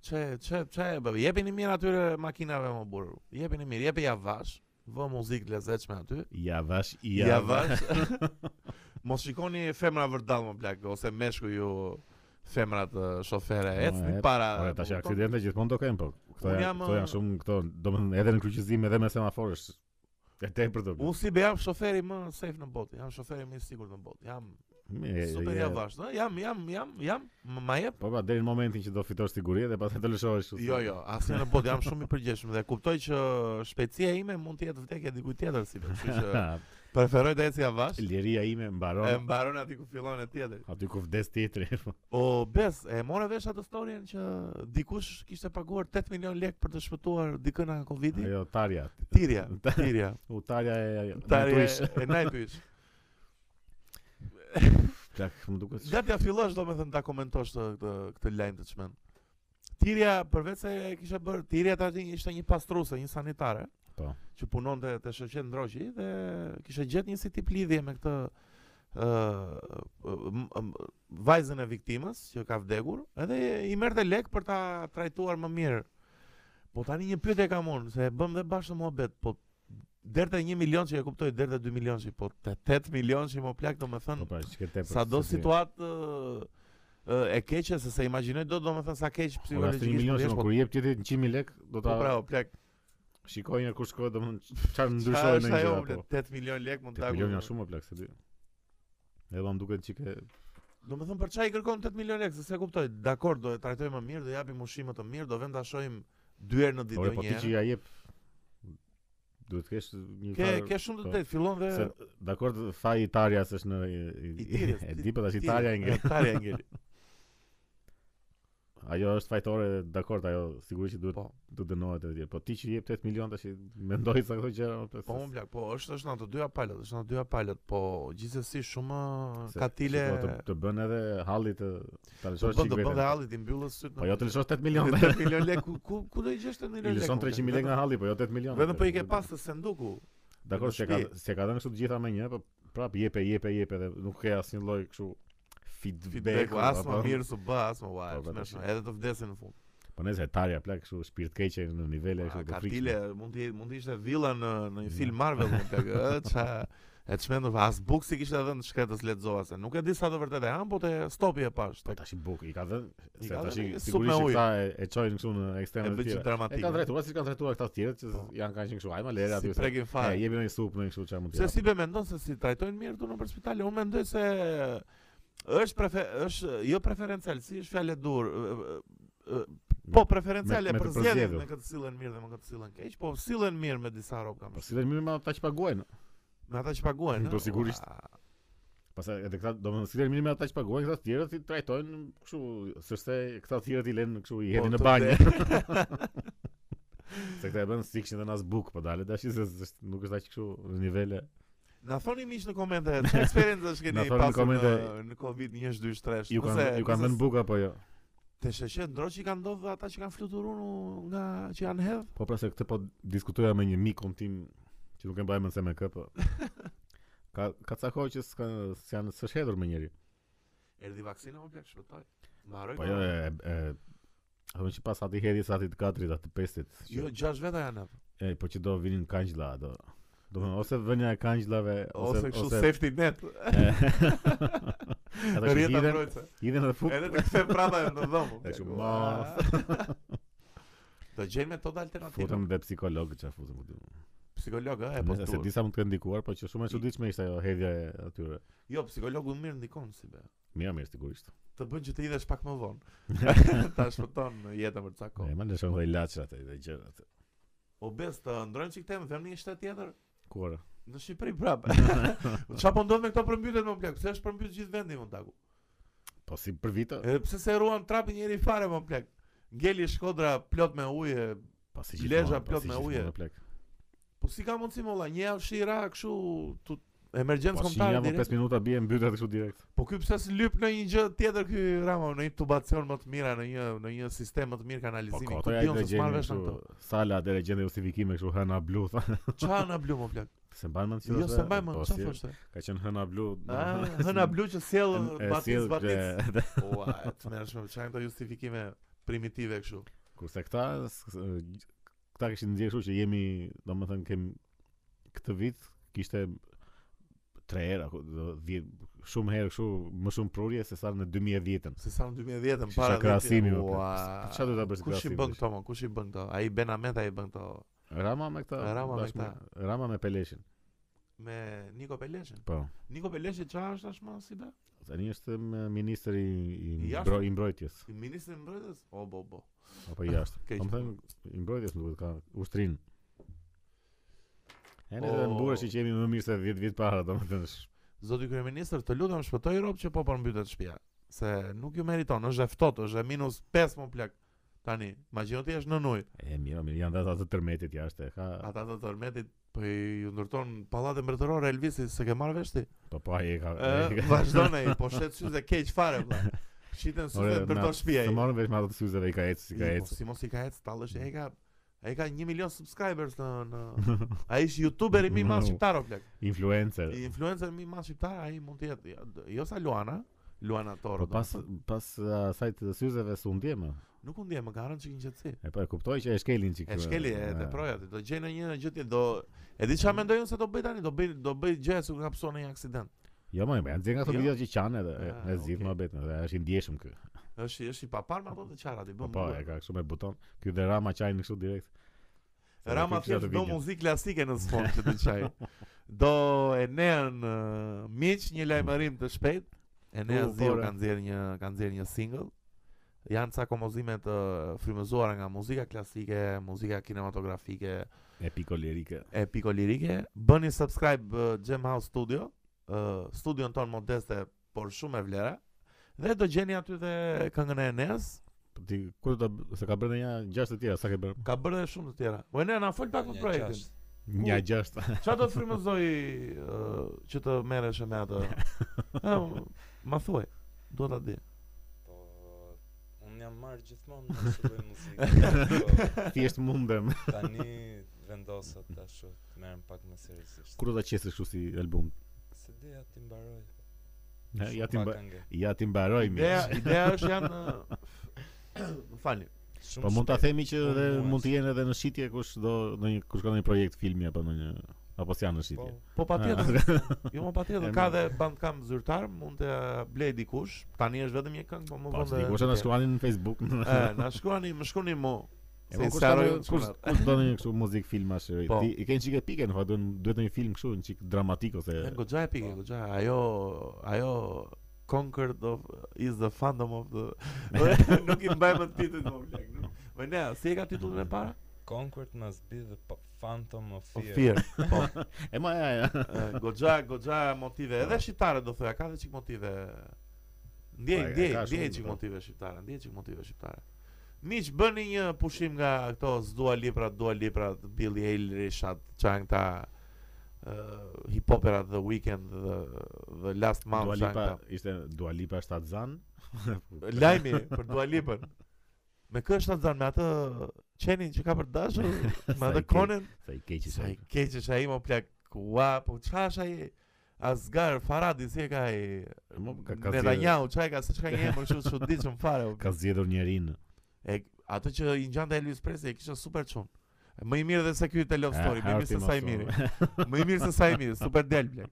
S2: Çe çe çe e bëve, jepini mirë atyre makinave më burr. Jepini mirë, jepi javash, vë muzikë lezetshme aty.
S1: ja vash ja,
S2: Ja vash.
S1: [LAUGHS]
S2: Mos shikoni femra vërdall më plak ose meshku ju femrat eh, shofere
S1: Po,
S2: ecni
S1: e,
S2: para.
S1: Ora tash aksidente gjithmonë do kem po. Këto
S2: Unë
S1: janë
S2: jam, uh,
S1: këto janë
S2: ë,
S1: shumë këto, domethënë edhe në kryqëzim edhe me semaforë është e tepërt do.
S2: Unë si be jam shoferi më safe në botë, jam shoferi më i sigurt në botë. Jam super javash, ëh, jam jam jam jam m- ma jep.
S1: Po pra deri në momentin që do fitosh siguri dhe pastaj do lëshohesh kështu.
S2: Jo, jo, asnjë në botë jam shumë i përgjegjshëm dhe kuptoj që shpejtësia ime mund të jetë vdekje dikujt tjetër si be, kështu që
S1: [LAUGHS] Ha,
S2: preferoj të eci javash.
S1: Liria ime
S2: E
S1: mbaron
S2: mbaron aty ku fillon e tjetër.
S1: aty ku vdes tjetri. [LAUGHS] po.
S2: O Bes, e morë vesh atë storyen që dikush kishte paguar 8 milion lek për të shpëtuar dikën nga Covidi?
S1: Ajo tarja.
S2: Tirja, Tirja.
S1: U tarja e [LAUGHS]
S2: Tarja
S1: Nightwish.
S2: e Nightwish.
S1: Plak, më duket.
S2: Gati ja fillosh domethënë ta komentosh të, këtë këtë lajm të çmend. Tirja përveç se e kisha bërë Tirja tani ishte një pastruse, një sanitare.
S1: Po.
S2: Që punonte te shoqet ndroqi dhe kishte gjetë një si tip lidhje me këtë ë m- m- vajzën e viktimës që ka vdekur, edhe i merrte lek për ta trajtuar më mirë. Po tani një pyetje kam unë, se e bëm dhe bashkë në muhabet, po derte 1 milion që e kuptoj, derte 2 milion që, po 8 milion që më plak domethënë
S1: Po pra, çka tepër.
S2: Sa do
S1: se si.
S2: situatë ë, e keqe se se imagjinoj do domethënë sa keq
S1: Ora është 1
S2: psikologjikisht.
S1: milion,
S2: mund jesh,
S1: shumë,
S2: po-
S1: kur jep tjetrit 100.000 lek, do
S2: Po pra,
S1: ta
S2: o plak.
S1: shikoj një kur shkoj domethënë [LAUGHS] çfarë
S2: Ndryshoj
S1: ndryshoi
S2: në
S1: në gjëra
S2: ajo
S1: po.
S2: 8 milion lek mund ta.
S1: 8 milion janë shumë më plak se di. Edhe më duket çike
S2: Domethënë për çfarë i kërkon 8 milion lek, se se kuptoj. Dakor, do e trajtojmë më mirë, do japim ushqime të mirë, do vend ta shohim dy herë në ditë jo
S1: Ore, po
S2: një
S1: ti që
S2: herë.
S1: ja jep duhet të kesh një
S2: Ke
S1: farë-
S2: ke shumë të
S1: po,
S2: drejtë, fillon dhe
S1: se dakor tha Italia se është në i- i-
S2: Italia,
S1: [LAUGHS] e di po tash Italia e
S2: [LAUGHS]
S1: ngel.
S2: Italia e
S1: [LAUGHS]
S2: ngel.
S1: Ajo është fajtore, dakor, ajo sigurisht që duhet
S2: Po.
S1: duhet dënohet e tjerë. Po ti që jep 8 milion tash i mendoj sa këto gjëra më
S2: Po
S1: pesë.
S2: më blaq, po është është në të dyja palët, është në të dyja palët, po gjithsesi shumë
S1: Se-
S2: katile.
S1: shiko, të, të bën edhe halli të ta
S2: Do
S1: lëshosh
S2: të
S1: çik
S2: bënte
S1: vetëm.
S2: po, halli ti mbyllës syt.
S1: Po jo të lëshosh 8
S2: [LAUGHS]
S1: milion.
S2: 8 milion lek, ku- ku ku do i gjesh 8
S1: I
S2: milion lek?
S1: lëshon
S2: më
S1: 300
S2: blaq?
S1: mijë lekë nga halli, po jo 8 milion.
S2: Vetëm po i ke pas të senduku.
S1: Dakor,
S2: në
S1: se ka
S2: shtëpi.
S1: se ka dhënë kështu të gjitha me një, po prap jepe, jepe, jepe dhe nuk ke asnjë lloj kështu feedback. po,
S2: Feedback, as më
S1: apo-
S2: mirë su bë, as më
S1: Po,
S2: vajt.
S1: po,
S2: Më
S1: tash.
S2: edhe të vdesin në fund.
S1: Po nëse hetarja plak kështu shpirt keqe në nivele
S2: A,
S1: kështu të frikshme.
S2: Katile mund të mund të ishte villa në në një
S1: Ja.
S2: film Marvel mund të
S1: [LAUGHS]
S2: ë ça e çmendur as buksi kishte dhënë shkretës lexova se nuk e di sa do vërtet e han, po te stopi e pash.
S1: Po
S2: Tek
S1: tash i buk, i ka dhënë
S2: I
S1: se
S2: ka
S1: tash
S2: dhënë një
S1: i-
S2: sup
S1: sigurisht
S2: me
S1: që
S2: ujë.
S1: këta e- e çojnë kështu në
S2: e
S1: ekstreme të
S2: bëj që
S1: tjera. E
S2: dramatik.
S1: ka drejtuar si kanë drejtuar këta të tjerët që
S2: Po.
S1: janë kanë qenë kështu, hajma lere aty.
S2: Si
S1: se-
S2: prekin
S1: E
S2: fare.
S1: jepim një supë në kështu çfarë mund të
S2: Se
S1: japim.
S2: si be mendon se si trajtojnë mirë këtu nëpër spitale? Unë mendoj se është prefer, është jo preferencial, si është fjalë e dur. ë, ë, ë, Po
S1: me-
S2: preferenciale
S1: me
S2: për
S1: të
S2: zgjedhjen,
S1: përzgjedhur.
S2: me këtë sillen mirë dhe me këtë sillen keq, po sillen mirë me disa rob kam.
S1: Po si dhe mirë me ata që paguajnë.
S2: Me ata që paguajnë.
S1: Po,
S2: ë,
S1: sigurisht.
S2: ua,
S1: Pastaj edhe këta, domethënë si dhe mirë me ata që paguajnë, këta të tjerët i trajtojnë kështu, sërse këta të tjerët i lënë kështu i
S2: Po,
S1: hedhin në
S2: të
S1: banjë. Se këta e bën sikshin dhe nas buk, po dalet tash se s'është- nuk është aq kështu në nivele.
S2: Na thoni miq në komente,
S1: [LAUGHS]
S2: çfarë eksperiencë është
S1: Na thoni
S2: keni
S1: në
S2: pasur në,
S1: komente-
S2: në Covid 1 2 3.
S1: Ju kanë ju kanë vënë buk apo jo?
S2: Te sheshe ndro që i kanë ndodhur ata që kanë fluturur nga që janë hedh.
S1: Po pra se këtë po diskutoja me një mikun tim që nuk e mbaj mend se me kë,
S2: [LAUGHS]
S1: po. Ka ka ca kohë që s'ka s'janë s'është hedhur me njëri.
S2: Erdhi vaksina më plak shpëtoi. Mbaroi.
S1: Po jo
S2: korona.
S1: e e Apo që pas ati hedhi sa ati të katrit, ati të pestit që-
S2: Jo, gjashtë veta janë. atë.
S1: E, po që do vinin kangjla, do. Do të thonë ose vënia e kangjllave
S2: Ose kështu safety net.
S1: [LAUGHS] Ata që
S2: Rjeta
S1: hidhen,
S2: mbrojtëse.
S1: hidhen dhe fup.
S2: Edhe të kthem prapa në dhomë.
S1: E kështu,
S2: [LAUGHS] Do gjejmë metoda alternative.
S1: Futëm dhe psikolog që futëm këtu.
S2: Psikolog, ë, e po
S1: Nëse se
S2: tur.
S1: disa mund të kenë ndikuar, po që shumë e çuditshme ishte ajo hedhja e atyre.
S2: Jo, psikologu mirë ndikon si be.
S1: Mira, mirë sigurisht.
S2: Të bën që të hidhesh pak më
S1: [LAUGHS]
S2: vonë. Ta shpëton jetën për ca
S1: Po,
S2: kohë.
S1: më lëshon dhe ilaçrat e dhe gjërat.
S2: O bes të ndrojmë çik temë, them një shtet tjetër
S1: Kur?
S2: në Shqipëri
S1: [LAUGHS]
S2: prapë. Çfarë po ndodh me këto përmbytjet më plak? Pse është përmbyt gjithë vendi më taku?
S1: Po si për vite?
S2: Edhe pse se ruan trapin njëri fare më plak. Ngeli Shkodra plot me ujë,
S1: Po si
S2: Lezha
S1: gjithmonë, po
S2: plot
S1: si
S2: me
S1: gjithmonë
S2: uje.
S1: në plak.
S2: po si ka mundësi molla, një javë shira kështu tu emergjencë
S1: Po si
S2: kombëtare
S1: jam
S2: direkt.
S1: 5 minuta bie mbytet kështu direkt.
S2: Po ky pse s'lyp në një gjë tjetër ky Rama, në një tubacion më të mirë, në një në një sistem më të mirë
S1: Po
S2: kanalizimi.
S1: koto
S2: Ku
S1: ja
S2: dion
S1: dhe
S2: se s'marr
S1: gjeni
S2: vesh në
S1: kështu
S2: këto.
S1: sala dhe gjeni justifikime kështu hëna blu tha. [LAUGHS]
S2: Çfarë na blu më plak?
S1: Se mban mend
S2: Jo se mbaj më,
S1: Po, [LAUGHS] si-
S2: çfarë thoshte?
S1: [LAUGHS] Ka qenë hëna blu. do-
S2: Ah, hëna blu që sjell
S1: N- e
S2: batis
S1: sjell
S2: batis.
S1: që- dhe- [LAUGHS]
S2: Ua, të mërshme, çfarë këto justifikime primitive kështu.
S1: Kurse këta s- e, gj- këta kishin ndjerë kështu që jemi, domethënë kem këtë vit kishte tre herë, apo do- dhje- shumë herë kështu më shumë prurje se sa në 2010-ën.
S2: Se sa në 2010
S1: Shisha
S2: para
S1: krahasimi, më plak.
S2: Ua.
S1: Po çfarë do ta bësh
S2: Kush i
S1: krahasimin,
S2: bën
S1: tash?
S2: këto më? Kush i bën këto? Ai Ben Ahmet ai bën këto
S1: Rama me këta.
S2: Rama me
S1: bashkë Rama me Peleshin.
S2: me Niko Peleshin.
S1: Po.
S2: Niko Peleshi çfarë është tashmë si be?
S1: Tani është me ministri i,
S2: I
S1: i,
S2: jashtëm?
S1: mbro, i mbrojtjes,
S2: Si ministri i mbrojtjes? O bo bo.
S1: apo i
S2: [LAUGHS]
S1: jashtë.
S2: Keq.
S1: Do të thënë i mbrojtjes më duhet ka ushtrin. E ne
S2: Po.
S1: oh. mburesh që jemi më mirë se 10 vjet para, domethënë. sh-
S2: Zoti kryeministër, të lutem shpëtoj rob që po përmbytet shtëpia, se nuk ju meriton, është e ftohtë, është e minus 5 më plak. Tani, imagjino ti është në ujë.
S1: E mirë, mirë, janë dhe ata të tërmetit jashtë. e Ka
S2: Ata të tërmetit po i ju ndërton pallatin mbretëror Elvisi, se ke marrë vesh
S1: [LAUGHS]
S2: ti.
S1: po po ai e ka.
S2: [LAUGHS]
S1: ai e
S2: Ë,
S1: ka-
S2: Vazhdon ai, po shet syze keq fare vlla. Shiten syze
S1: Ore, na-
S2: ndërton shtëpia
S1: Të
S2: ai.
S1: marrën vesh me ato të syze dhe i ka ecë, si ka
S2: I, po,
S1: ecë.
S2: Si mos i ka ecë tallësh, ai ka ai ka 1 milion subscribers në në
S1: [LAUGHS]
S2: ai është youtuber i mi mas
S1: Wow.
S2: shqiptar o plak.
S1: Influencer.
S2: I influencer i mi mas shqiptar ai mund të jetë jo- jo sa Luana, Luana Toro.
S1: Po pas
S2: domethënë.
S1: pas asaj të syzeve s'u ndje më.
S2: Nuk u ndje, më ka rënë çikin qetësi.
S1: E po e kuptoj që e shkelin çik.
S2: E shkeli e pra- teproj aty, do gjej në një gjë tjetër, do e di
S1: Mm.
S2: çfarë mendoj unë se do bëj tani, do bëj do bëj gjë që ka psuar në një aksident.
S1: Jo më, janë dhënë ato
S2: Jo.
S1: video që qanë edhe e-
S2: Ah,
S1: e zgjidh
S2: okay.
S1: mohabet, edhe është i ndjeshëm ky.
S2: Është është i papar me ato të çara ti
S1: Po
S2: bën.
S1: po,
S2: mua.
S1: e ka kështu me buton. Ky dhe Rama çajin kështu direkt. Se
S2: Rama
S1: ky kisha
S2: thjesht
S1: të
S2: do
S1: video.
S2: muzikë klasike në sfond që të çaj. Do Enean ë, miq një lajmërim të shpejt. Enea
S1: U,
S2: Ziu
S1: bora.
S2: ka nxjerr një ka nxjerr një single. janë ca kompozime të frymëzuara nga muzika klasike, muzika kinematografike,
S1: Epikolirike.
S2: e piko lirike Bëni subscribe uh, Gem House Studio uh, Studion ton modeste Por shumë e vlera Dhe do gjeni aty dhe këngën e Enes
S1: Po ti kur do se ka bërë një gjashtë të tjera, sa ke bërë?
S2: Ka bërë dhe shumë të tjera Po e ne na fol pak për
S3: Një
S2: projektin
S3: gjashtë.
S1: Një gjashtë.
S2: Qa do të frymëzoj uh, Që të meresh e me atë
S1: [LAUGHS]
S2: e, Ma thuaj Do ta di
S3: Po unë jam marr gjithmonë në çdo lloj muzike.
S1: [LAUGHS] [LAUGHS] Thjesht mundem.
S3: Po tani vendosa tash të merrem pak më seriozisht.
S1: Kur do ta qesësh kështu si album?
S3: Se deja ti mbaroj.
S1: Ne,
S3: Shumë
S1: Ja ti
S3: pak
S1: mba-
S3: këngë.
S1: ja ti mbaroj mi.
S2: Ideja, ideja është janë uh, [CLEARS THROAT] Më falni
S3: Shumë
S1: Po mund ta
S3: shpejt.
S1: themi që
S3: Po,
S1: edhe
S3: mua
S1: mund të
S3: është.
S1: jenë edhe në shitje kush do në një kush ka ndonjë projekt filmi apo ndonjë apo s'janë në
S3: Po,
S1: shitje.
S2: Po pa tjetër Jo më
S1: Ah.
S2: pa
S1: [LAUGHS] E
S2: tjetër Ka
S1: mirë.
S2: dhe bandcamp zyrtar Mund të blej dikush Tani është vetëm një këngë Po më
S1: Po,
S2: vëndë
S1: ti kush na shkruani në [LAUGHS] Facebook.
S2: E, na shkruani, më shkruani mu.
S1: E
S2: Se
S1: po
S2: i
S1: kush
S2: saroj
S1: tani- kush
S2: çunat.
S1: kush do një kështu muzik filmash. e,
S2: Po.
S1: Ti i kanë çike pikën, po duhet duhet një film kështu, një çik dramatik ose
S2: E, Goxha e pike,
S3: Po.
S2: goxha. Ajo, ajo Conquered of is the fandom of
S1: [LAUGHS]
S2: the [LAUGHS] Nuk i mbaj më titullin më blek. nuk- Po ne, si e ka titullin e para?
S3: Conquered must be the p- phantom of
S2: Po
S3: fear.
S2: Fear. Po.
S1: [LAUGHS] E ma ja. ja.
S2: e, Goxha, goxha motive. Edhe shqiptare do thoya, ka dhe çik motive.
S1: Po,
S2: Ndjej,
S1: e
S2: ndjej,
S1: ka
S2: ndjej
S1: shumë,
S2: çik
S1: po.
S2: motive shqiptare, ndjej çik motive shqiptare. Miq, bëni një pushim nga këto Zdua Liprat, Dua Liprat, Billy Eilishad, çan këta uh, hip hoperat The Weeknd dhe, dhe Last Month
S1: Dua
S2: çan
S1: Lipa
S2: këta.
S1: ishte Dua Lipa shtatzan.
S2: Lajmi për Dua Lipën. Me kë është atë me atë qenin që ka për
S1: [LAUGHS]
S2: dashur, me
S1: Sa i
S2: atë
S1: keq.
S2: konen,
S1: Sa i keq
S2: Sa i
S1: ishte.
S2: keq është ai më plak Ua, po qa është ai Asgar Faradi si e ka ai
S1: Mo, ka- ka
S2: Netanyahu, qa e ka se çka një emër kështu çuditshëm fare. o.
S1: Ka zgjedhur njerin.
S2: E atë që i ngjante Elvis Presley e kishte super çun. Më i mirë dhe se ky te Love Story,
S1: Ah,
S2: më i mirë
S1: Harti
S2: se sa i
S1: Mason.
S2: miri. [LAUGHS] Më i mirë se sa i miri, super del plak.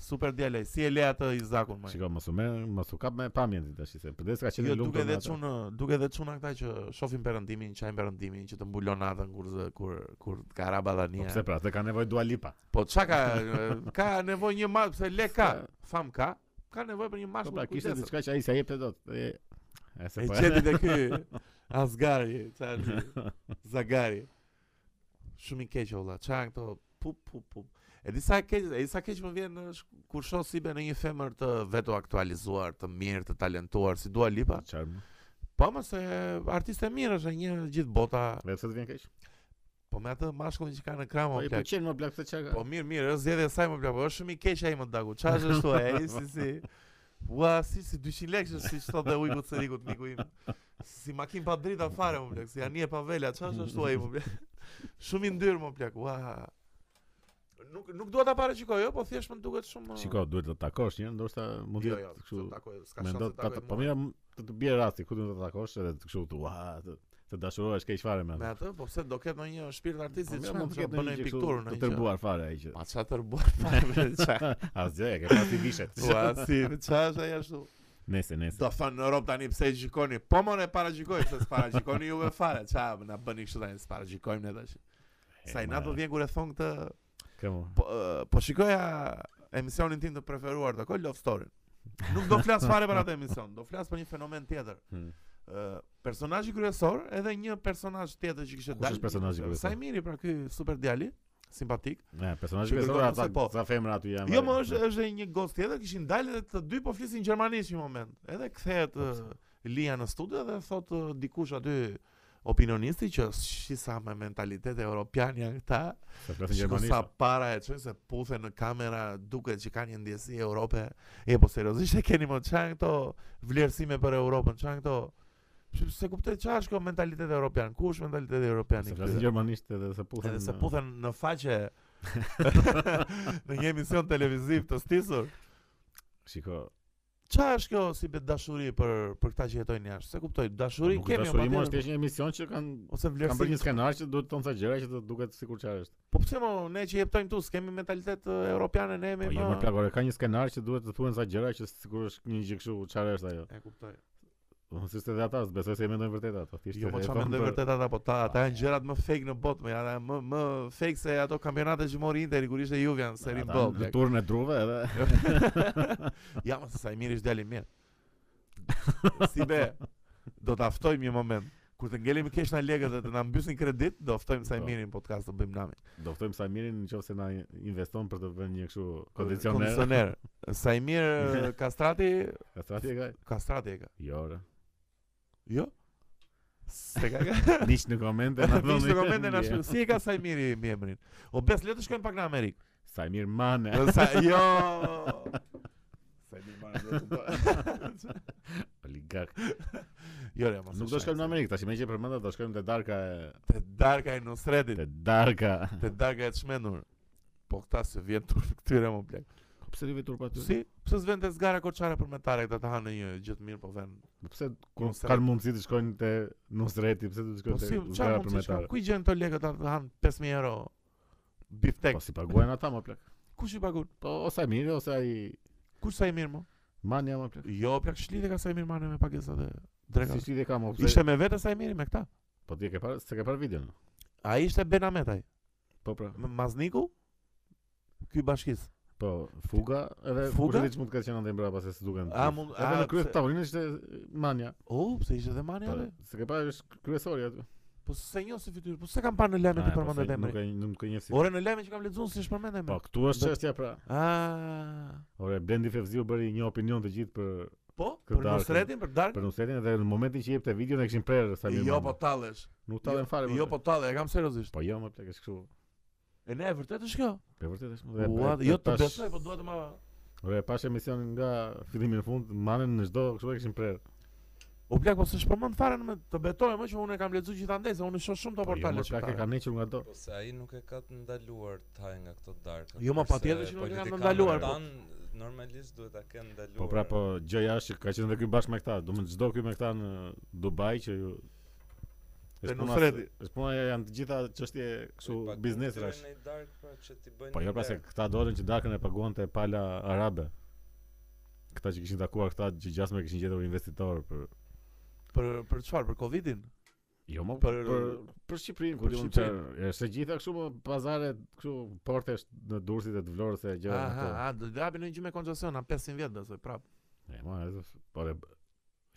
S2: Super del ai. Si e le atë Izakun më?
S1: Shiko, mos u merr, mos u kap me pamjen ti tash se përdes ka qenë
S2: Jo,
S1: lumtur.
S2: duke
S1: me
S2: edhe
S1: atë.
S2: çun, duke edhe çuna këta që shohin perëndimin, çajin perëndimin, që të mbulon natën kur zë- kur kur ka
S1: Po
S2: rabadania.
S1: pse pra, se ka nevojë Dua Lipa.
S2: Po çka ka [LAUGHS] e, ka nevojë një mashkull, pse le ka, fam ka, ka nevojë për një
S1: Po
S2: mashkull.
S1: pra,
S2: Po
S1: kishte diçka që ai sa jepte dot. E e, se
S2: E
S1: po.
S2: gjeti te ky Asgari,
S1: [LAUGHS]
S2: çfarë është? Zagari. Shumë i keq olla. Çan këto pup pup pup. E disa e keq, e disa keq më vjen në sh- kur shoh si be në një femër të veto aktualizuar, të mirë, të talentuar si Dua
S1: [LAUGHS]
S2: Lipa.
S1: Çfarë?
S2: Po mos e artiste e mirë është e një gjithë bota,
S1: Vetë se të vjen keq.
S2: po me atë mashkullin që ka në krahun.
S1: Po i pëlqen më blaq se çka.
S2: Po mirë, mirë, është zgjedhja e saj më plak, po është shumë i keq ai më dagu. Çfarë është ashtu ai si si Ua, si si 200 lekë si thot dhe ujku Cerikut miku im. Si makin pa drita fare më plak, si ani e pa vela, çfarë është ashtu ai më plak. Shumë i ndyr më plak. Ua. Nuk nuk dua ta paraqikoj, jo, po thjesht më duket shumë.
S1: Shiko, duhet të takosh një, ndoshta mund të
S2: jo, jo,
S1: jetë
S2: kështu
S1: kështu.
S2: takoj, s'ka
S1: Mendo
S2: shanse
S1: ta
S2: takoj.
S1: po mira m- të të bie rasti ku do të takosh edhe të kështu tu, ah, të, të dashurohesh keq fare me.
S2: me
S1: atë.
S2: atë, po pse do ketë ndonjë shpirt
S1: Po,
S2: artisti
S1: mira,
S2: çfarë
S1: mund të ketë
S2: bën
S1: ndonjë
S2: një
S1: gjë kështu
S2: pikturë në
S1: të
S2: një gjë.
S1: tërbuar fare ai që.
S2: [LAUGHS]
S1: [LAUGHS]
S2: Pa çfarë tërbuar fare, çfarë.
S1: Asgjë, e ke pasi vishet.
S2: Ua,
S1: [LAUGHS]
S2: si, çfarë është ai ashtu?
S1: Nese, nese.
S2: Do thonë në Europë tani pse e gjikoni? Po more paragjikoj, pse
S1: [LAUGHS]
S2: s'paragjikoni juve fare. Ça na bëni kështu tani s'paragjikojmë ne tash. Sa i na do vjen kur e thon këtë
S1: Kemo.
S2: po, ë, po shikoja emisionin tim të preferuar të Love Story. Nuk do flas fare për atë emision, do flas për një fenomen tjetër.
S1: Hmm.
S2: Ë personazhi kryesor edhe një personazh tjetër që kishte
S1: Kush është personazhi kryesor?
S2: Sa i miri pra ky super djali, simpatik.
S1: Ne, personazhi
S2: Shikoj,
S1: kryesor
S2: do
S1: ata
S2: nëse po.
S1: sa femra aty janë.
S2: Jo,
S1: vare.
S2: më është është një gost tjetër, kishin dalë dhe të dy po flisin gjermanisht një moment. Edhe kthehet
S1: Po,
S2: ë, Lia në studio dhe thot ë, dikush aty opinionisti që shi sa me mentalitet europian janë këta.
S1: Se flasin
S2: Shiko
S1: Pra, gjermanisht.
S2: sa para e çojnë se puthen në kamera, duket që kanë një ndjesi Europe. E po seriozisht e keni më çan këto vlerësime për Europën, çan këto Pse- Se kuptoj çfarë është kjo mentalitet europian. Ku është mentaliteti europian i
S1: Se
S2: këtyre?
S1: flasin gjermanisht edhe se puthen.
S2: Edhe se
S1: në-
S2: puthen në
S1: [LAUGHS]
S2: faqe në një emision televiziv të stisur.
S1: Shiko.
S2: Qa është kjo si be dashuri për për këta që jetojnë jashtë? Se kuptoj, dashuri
S1: nuk
S2: kemi
S1: dashuri
S2: patjetër,
S1: më është thjesht një emision që kanë
S2: ose
S1: kanë bërë një
S2: vlerësim.
S1: skenar që duhet të thonë sa gjëra që të duket sikur çfarë është.
S2: Po pse mo ne që jetojmë këtu s'kemi mentalitet e, europiane, ne
S1: Po
S2: jemi
S1: jo
S2: më
S1: më plagore, ka një skenar që duhet të thuhen sa gjëra që sikur është një gjë kështu çfarë është ajo.
S2: E kuptoj.
S1: Unë si se dhe ata, besoj se e mendojnë vërtet ato. Thjesht
S2: Jo,
S1: e
S2: po çfarë
S1: thonë
S2: mendoj
S1: për-
S2: vërtet ata, po ta ata janë gjërat më fake në botë, më janë më më fake se ato kampionate që mori Interi kur ishte Juve në Serie
S1: ata
S2: B.
S1: Në turën e druve edhe [LAUGHS]
S2: [LAUGHS] ja, më se sa i mirë është djali mirë. Si be. do ta ftojmë një moment. Kur të ngelemi kesh në legët dhe të na mbysin kredit, do ftojmë sa i
S1: Po.
S2: mirë në podcast të bëjmë nami.
S1: Do ftojmë sa mirin nëse na investon për të vënë një kështu kondicioner.
S2: Kondicioner. Sa i
S1: [LAUGHS]
S2: mirë kastrati,
S1: Ka strati e ka?
S2: kastrati e ka.
S1: Jo, re.
S2: Jo. Se
S1: [LAUGHS]
S2: ka.
S1: Niq në komente
S2: [LAUGHS]
S1: na
S2: Në
S1: doni.
S2: komente na
S1: ndje.
S2: shkruaj si e ka sa i mirë mi emrin. O bes le të shkojmë pak në
S1: [LAUGHS]
S2: Amerikë.
S1: Sa mirë mane.
S2: [LAUGHS] Dhe Sa jo.
S1: Sa mirë mane.
S2: po.
S1: [LAUGHS] Oligak.
S2: Jo, re, mos.
S1: Nuk do shkojmë në Amerikë, tash më që përmenda do shkojmë te Darka e
S2: Te darka e Nusretit,
S1: te Darka.
S2: te darka e të shmendur. Po këta se vjen turp [LAUGHS] këtyre më plak.
S1: Po Pse ti vetur pa ty?
S2: Si? Pse s'vën të zgara koçare për metare këta të hanë një gjë të mirë po vën.
S1: Po Pse kur
S2: Nusret.
S1: kanë mundësi të shkojnë te Nusreti, pse do të
S2: Po
S1: shkojnë te
S2: si çfarë
S1: Zgara
S2: mund
S1: për
S2: të shkon?
S1: metare?
S2: Ku i gjen këto lekë ata të hanë 5000 euro biftek?
S1: Po si paguajnë ata më plak.
S2: Kush i pagon?
S1: Po ose ai mirë ose ai
S2: Kush sa i mirë më?
S1: manja më plak.
S2: Jo, plak shlidhe ka sa i mirë marrë me pagesat e dreka.
S1: Si ti e kam opse.
S2: Ishte me vete sa i miri me këta.
S1: Po ti e ke parë, se ke parë videon.
S2: A ishte Benametaj,
S1: Po pra.
S2: M- Mazniku, ky bashkis.
S1: Po fuga edhe
S2: Fuga?
S1: kush e di çmund të ketë qenë ndaj mbrapa se s'duken.
S2: A mund
S1: Edhe
S2: a
S1: në krye
S2: pse-
S1: të tavolinës ishte manja.
S2: O, pse ishte dhe mani
S1: Po,
S2: atë?
S1: se ke parë është kryesori aty.
S2: Po se njo si fytyrë, po se kam parë në lajme
S1: Ah,
S2: ti
S1: po, se
S2: përmendet
S1: Nuk
S2: emrin.
S1: e nuk e njeh si.
S2: Ore në lajme që kam lexuar si është përmend
S1: Po
S2: emri.
S1: këtu është
S2: Do-
S1: çështja pra.
S2: Ah.
S1: Ore Blendi Fevziu bëri një opinion të gjithë për
S2: Po,
S1: Për
S2: për
S1: Darkën.
S2: Nusretin, për Dark.
S1: për Nusretin edhe në momentin që jepte videon e kishin prerë sa mirë.
S2: Jo
S1: mama.
S2: po tallesh.
S1: nuk ta fare. më
S2: Jo
S1: plak.
S2: po talle, e kam seriozisht.
S1: Po jo më plak është kështu.
S2: E ne e vërtet është kjo?
S1: Po vërtet është. Dhe-
S2: Ua,
S1: dhe-
S2: jo
S1: tash-
S2: të besoj, po dua të ma
S1: Ore pash emision nga fillimi në fund, manen në çdo kështu e kishin prerë.
S2: Po,
S1: Po,
S2: U plak po s'është përmend fare në me- të betoj më që unë e kam lexuar gjithandaj se unë shoh shumë të
S1: Po jo
S2: portale
S1: më plak e
S2: shqiptare.
S1: kanë hequr nga do.
S3: Po se ai nuk e ka të ndaluar të haj nga këto darka.
S2: Jo, ma
S3: kurse
S2: patjetër që nuk e kanë të
S3: politikanët
S2: ndaluar, po.
S3: tanë normalisht duhet ta kenë ndaluar.
S1: Po pra po gjëja është që ka qenë edhe ky bashkë me këta, do më çdo ky me këta në Dubai që ju
S2: Te
S1: Është puna-
S2: Nusreti.
S1: Është puna janë të gjitha çështje kështu
S3: Po i paguajnë
S1: biznesrash.
S3: këtyre në i dark pra që ti bëjnë.
S1: Po jo pra se këta dorën që darkën e paguan te pala arabe. Këta që kishin takuar këta që gjasme kishin gjetur investitor për
S2: Për për çfarë? Për Covidin?
S1: Jo më për
S2: Për-
S1: për, për Shqipërinë ku
S2: për
S1: diun
S2: Shqipërinë.
S1: çfarë. Është e gjitha kështu më pazare kështu porte në Durrësit e të Vlorës e gjëra
S2: Aha,
S1: jo, ato.
S2: a, do të japin një gjë me koncesion, a 500 vjet besoj, prap.
S1: E ma, e, po re,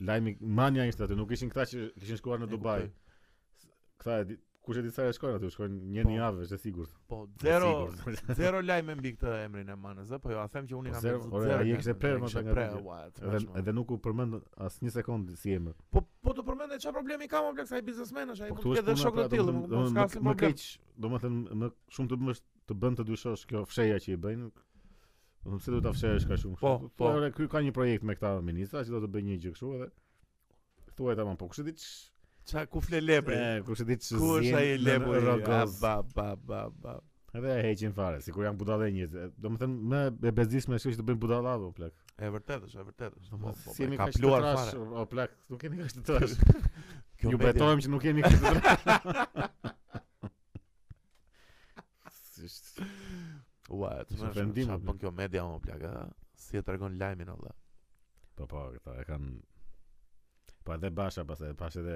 S1: lajmi manja ishte aty, nuk ishin këta që kishin shkuar në
S2: E
S1: Dubai.
S2: kuptoj.
S1: Këta e di- kush e di sa e shkojnë aty, shkojnë një
S2: Po.
S1: një javë, është e sigurt.
S2: Po
S1: Është e
S2: zero
S1: [LAUGHS] sigurt.
S2: [LAUGHS] zero lajme mbi këtë emrin e Manës, ë, po jo, a them që unë i
S1: Po
S2: kam
S1: zero,
S2: lexuar
S1: ore,
S2: zero.
S1: ai
S2: lajme,
S1: kishte prerë
S2: ai
S1: më
S2: kishte
S1: thënë nga
S2: prerë,
S1: video.
S2: ua, të
S1: Edhe
S2: mëshme.
S1: edhe nuk u përmend as një sekond si emër.
S2: Po po të përmendë çfarë problemi ka më blek sa ai biznesmen është, ai
S1: Po
S2: mund
S1: këtu
S2: të
S1: është
S2: ketë dhe
S1: puna
S2: shok
S1: pra,
S2: të tillë,
S1: domethënë-
S2: mund
S1: domethënë
S2: të
S1: më
S2: s'ka
S1: më
S2: më
S1: keq,
S2: problem.
S1: domethënë më shumë të bësh të bën të dyshosh kjo fsheja që i bëjnë. Domethënë pse duhet ta fshehësh kaq shumë?
S2: Po,
S1: kështu?
S2: po.
S1: ore, ky ka një projekt me këta ministra që do të bëjë një gjë kështu edhe thuaj tamam, po kush e di ç
S2: Ça ku fle lepri?
S1: e, kush e di ç
S2: Ku është ai lepri? A,
S1: rogoz.
S2: Ba ba ba ba.
S1: Edhe e heqin fare, sikur janë budalla njerëz. Domethënë më e bezdisme është që të bëjnë budalla apo plak.
S2: E vërtetë është, e vërtetë është. Po, po,
S1: Si
S2: e
S1: jemi
S2: ka
S1: kaq të
S2: pluar
S1: trash,
S2: fare.
S1: o plak, nuk kemi kaq të trash.
S2: Kjo
S1: Ju
S2: media-
S1: betohem që nuk jemi kaq të trash. Si është-
S2: Ua, të
S1: Ishte
S2: më
S1: vendim,
S2: shumë
S1: o
S2: bën kjo media më plak, a? Si e tregon lajmin olla.
S1: Po po, këta e kanë Po edhe Basha pastaj, pas edhe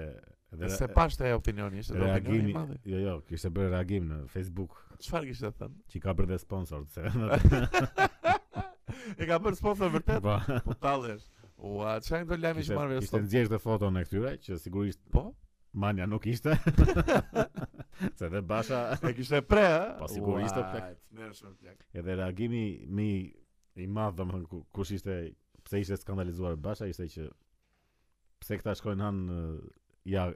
S1: edhe
S2: Se pashte ai opinioni, ishte dhe opinioni
S1: reagimi.
S2: i madh.
S1: Jo, jo, kishte bërë reagim në Facebook,
S2: Çfarë kishte
S1: [LAUGHS]
S2: thënë?
S1: që i ka bërë dhe sponsor
S2: [LAUGHS]
S1: se.
S2: e ka bërë sponsor vërtet?
S1: Po.
S2: Po tallesh. Ua, çfarë këto lajme që
S1: Kishte,
S2: marrë
S1: kishte
S2: vetë?
S1: nxjerrë këtë foton e këtyre që sigurisht
S2: Po,
S1: Manja nuk
S2: [LAUGHS]
S1: ishte. se edhe Basha
S2: e kishte pre, ë?
S1: Po, sigurisht, o plak.
S2: Mershëm plak.
S1: edhe reagimi mi i madh domethënë ku- kush ishte pse ishte skandalizuar Basha ishte që pse këta shkojnë han ja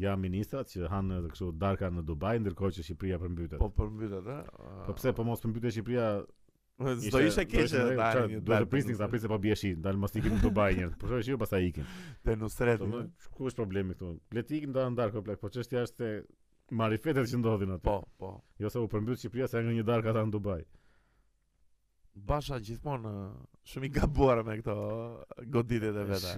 S1: ja ministrat që han eh, kështu darka në Dubai ndërkohë që Shqipëria përmbytet.
S2: Po përmbytet, ë?
S1: Po pse po mos përmbytet Shqipëria?
S2: Do ishte keq
S1: do ishte-
S2: ta
S1: çfarë,
S2: një
S1: Duhet
S2: dalë
S1: të prisni sa prisni po bie shi, dal mos ikim në Dubai njerëz. Po shohësh ju pastaj ikin.
S2: Te Nusret.
S1: Domethënë ku është problemi këtu? Le të ikim ndan darkë o plak, po çështja është se marifetet që ndodhin aty.
S2: Po, po.
S1: Jo se u përmbyt Shqipëria se nga një darkë ata në Dubai.
S2: Basha gjithmonë ë, shumë i gabuar me këto ë, goditjet e veta.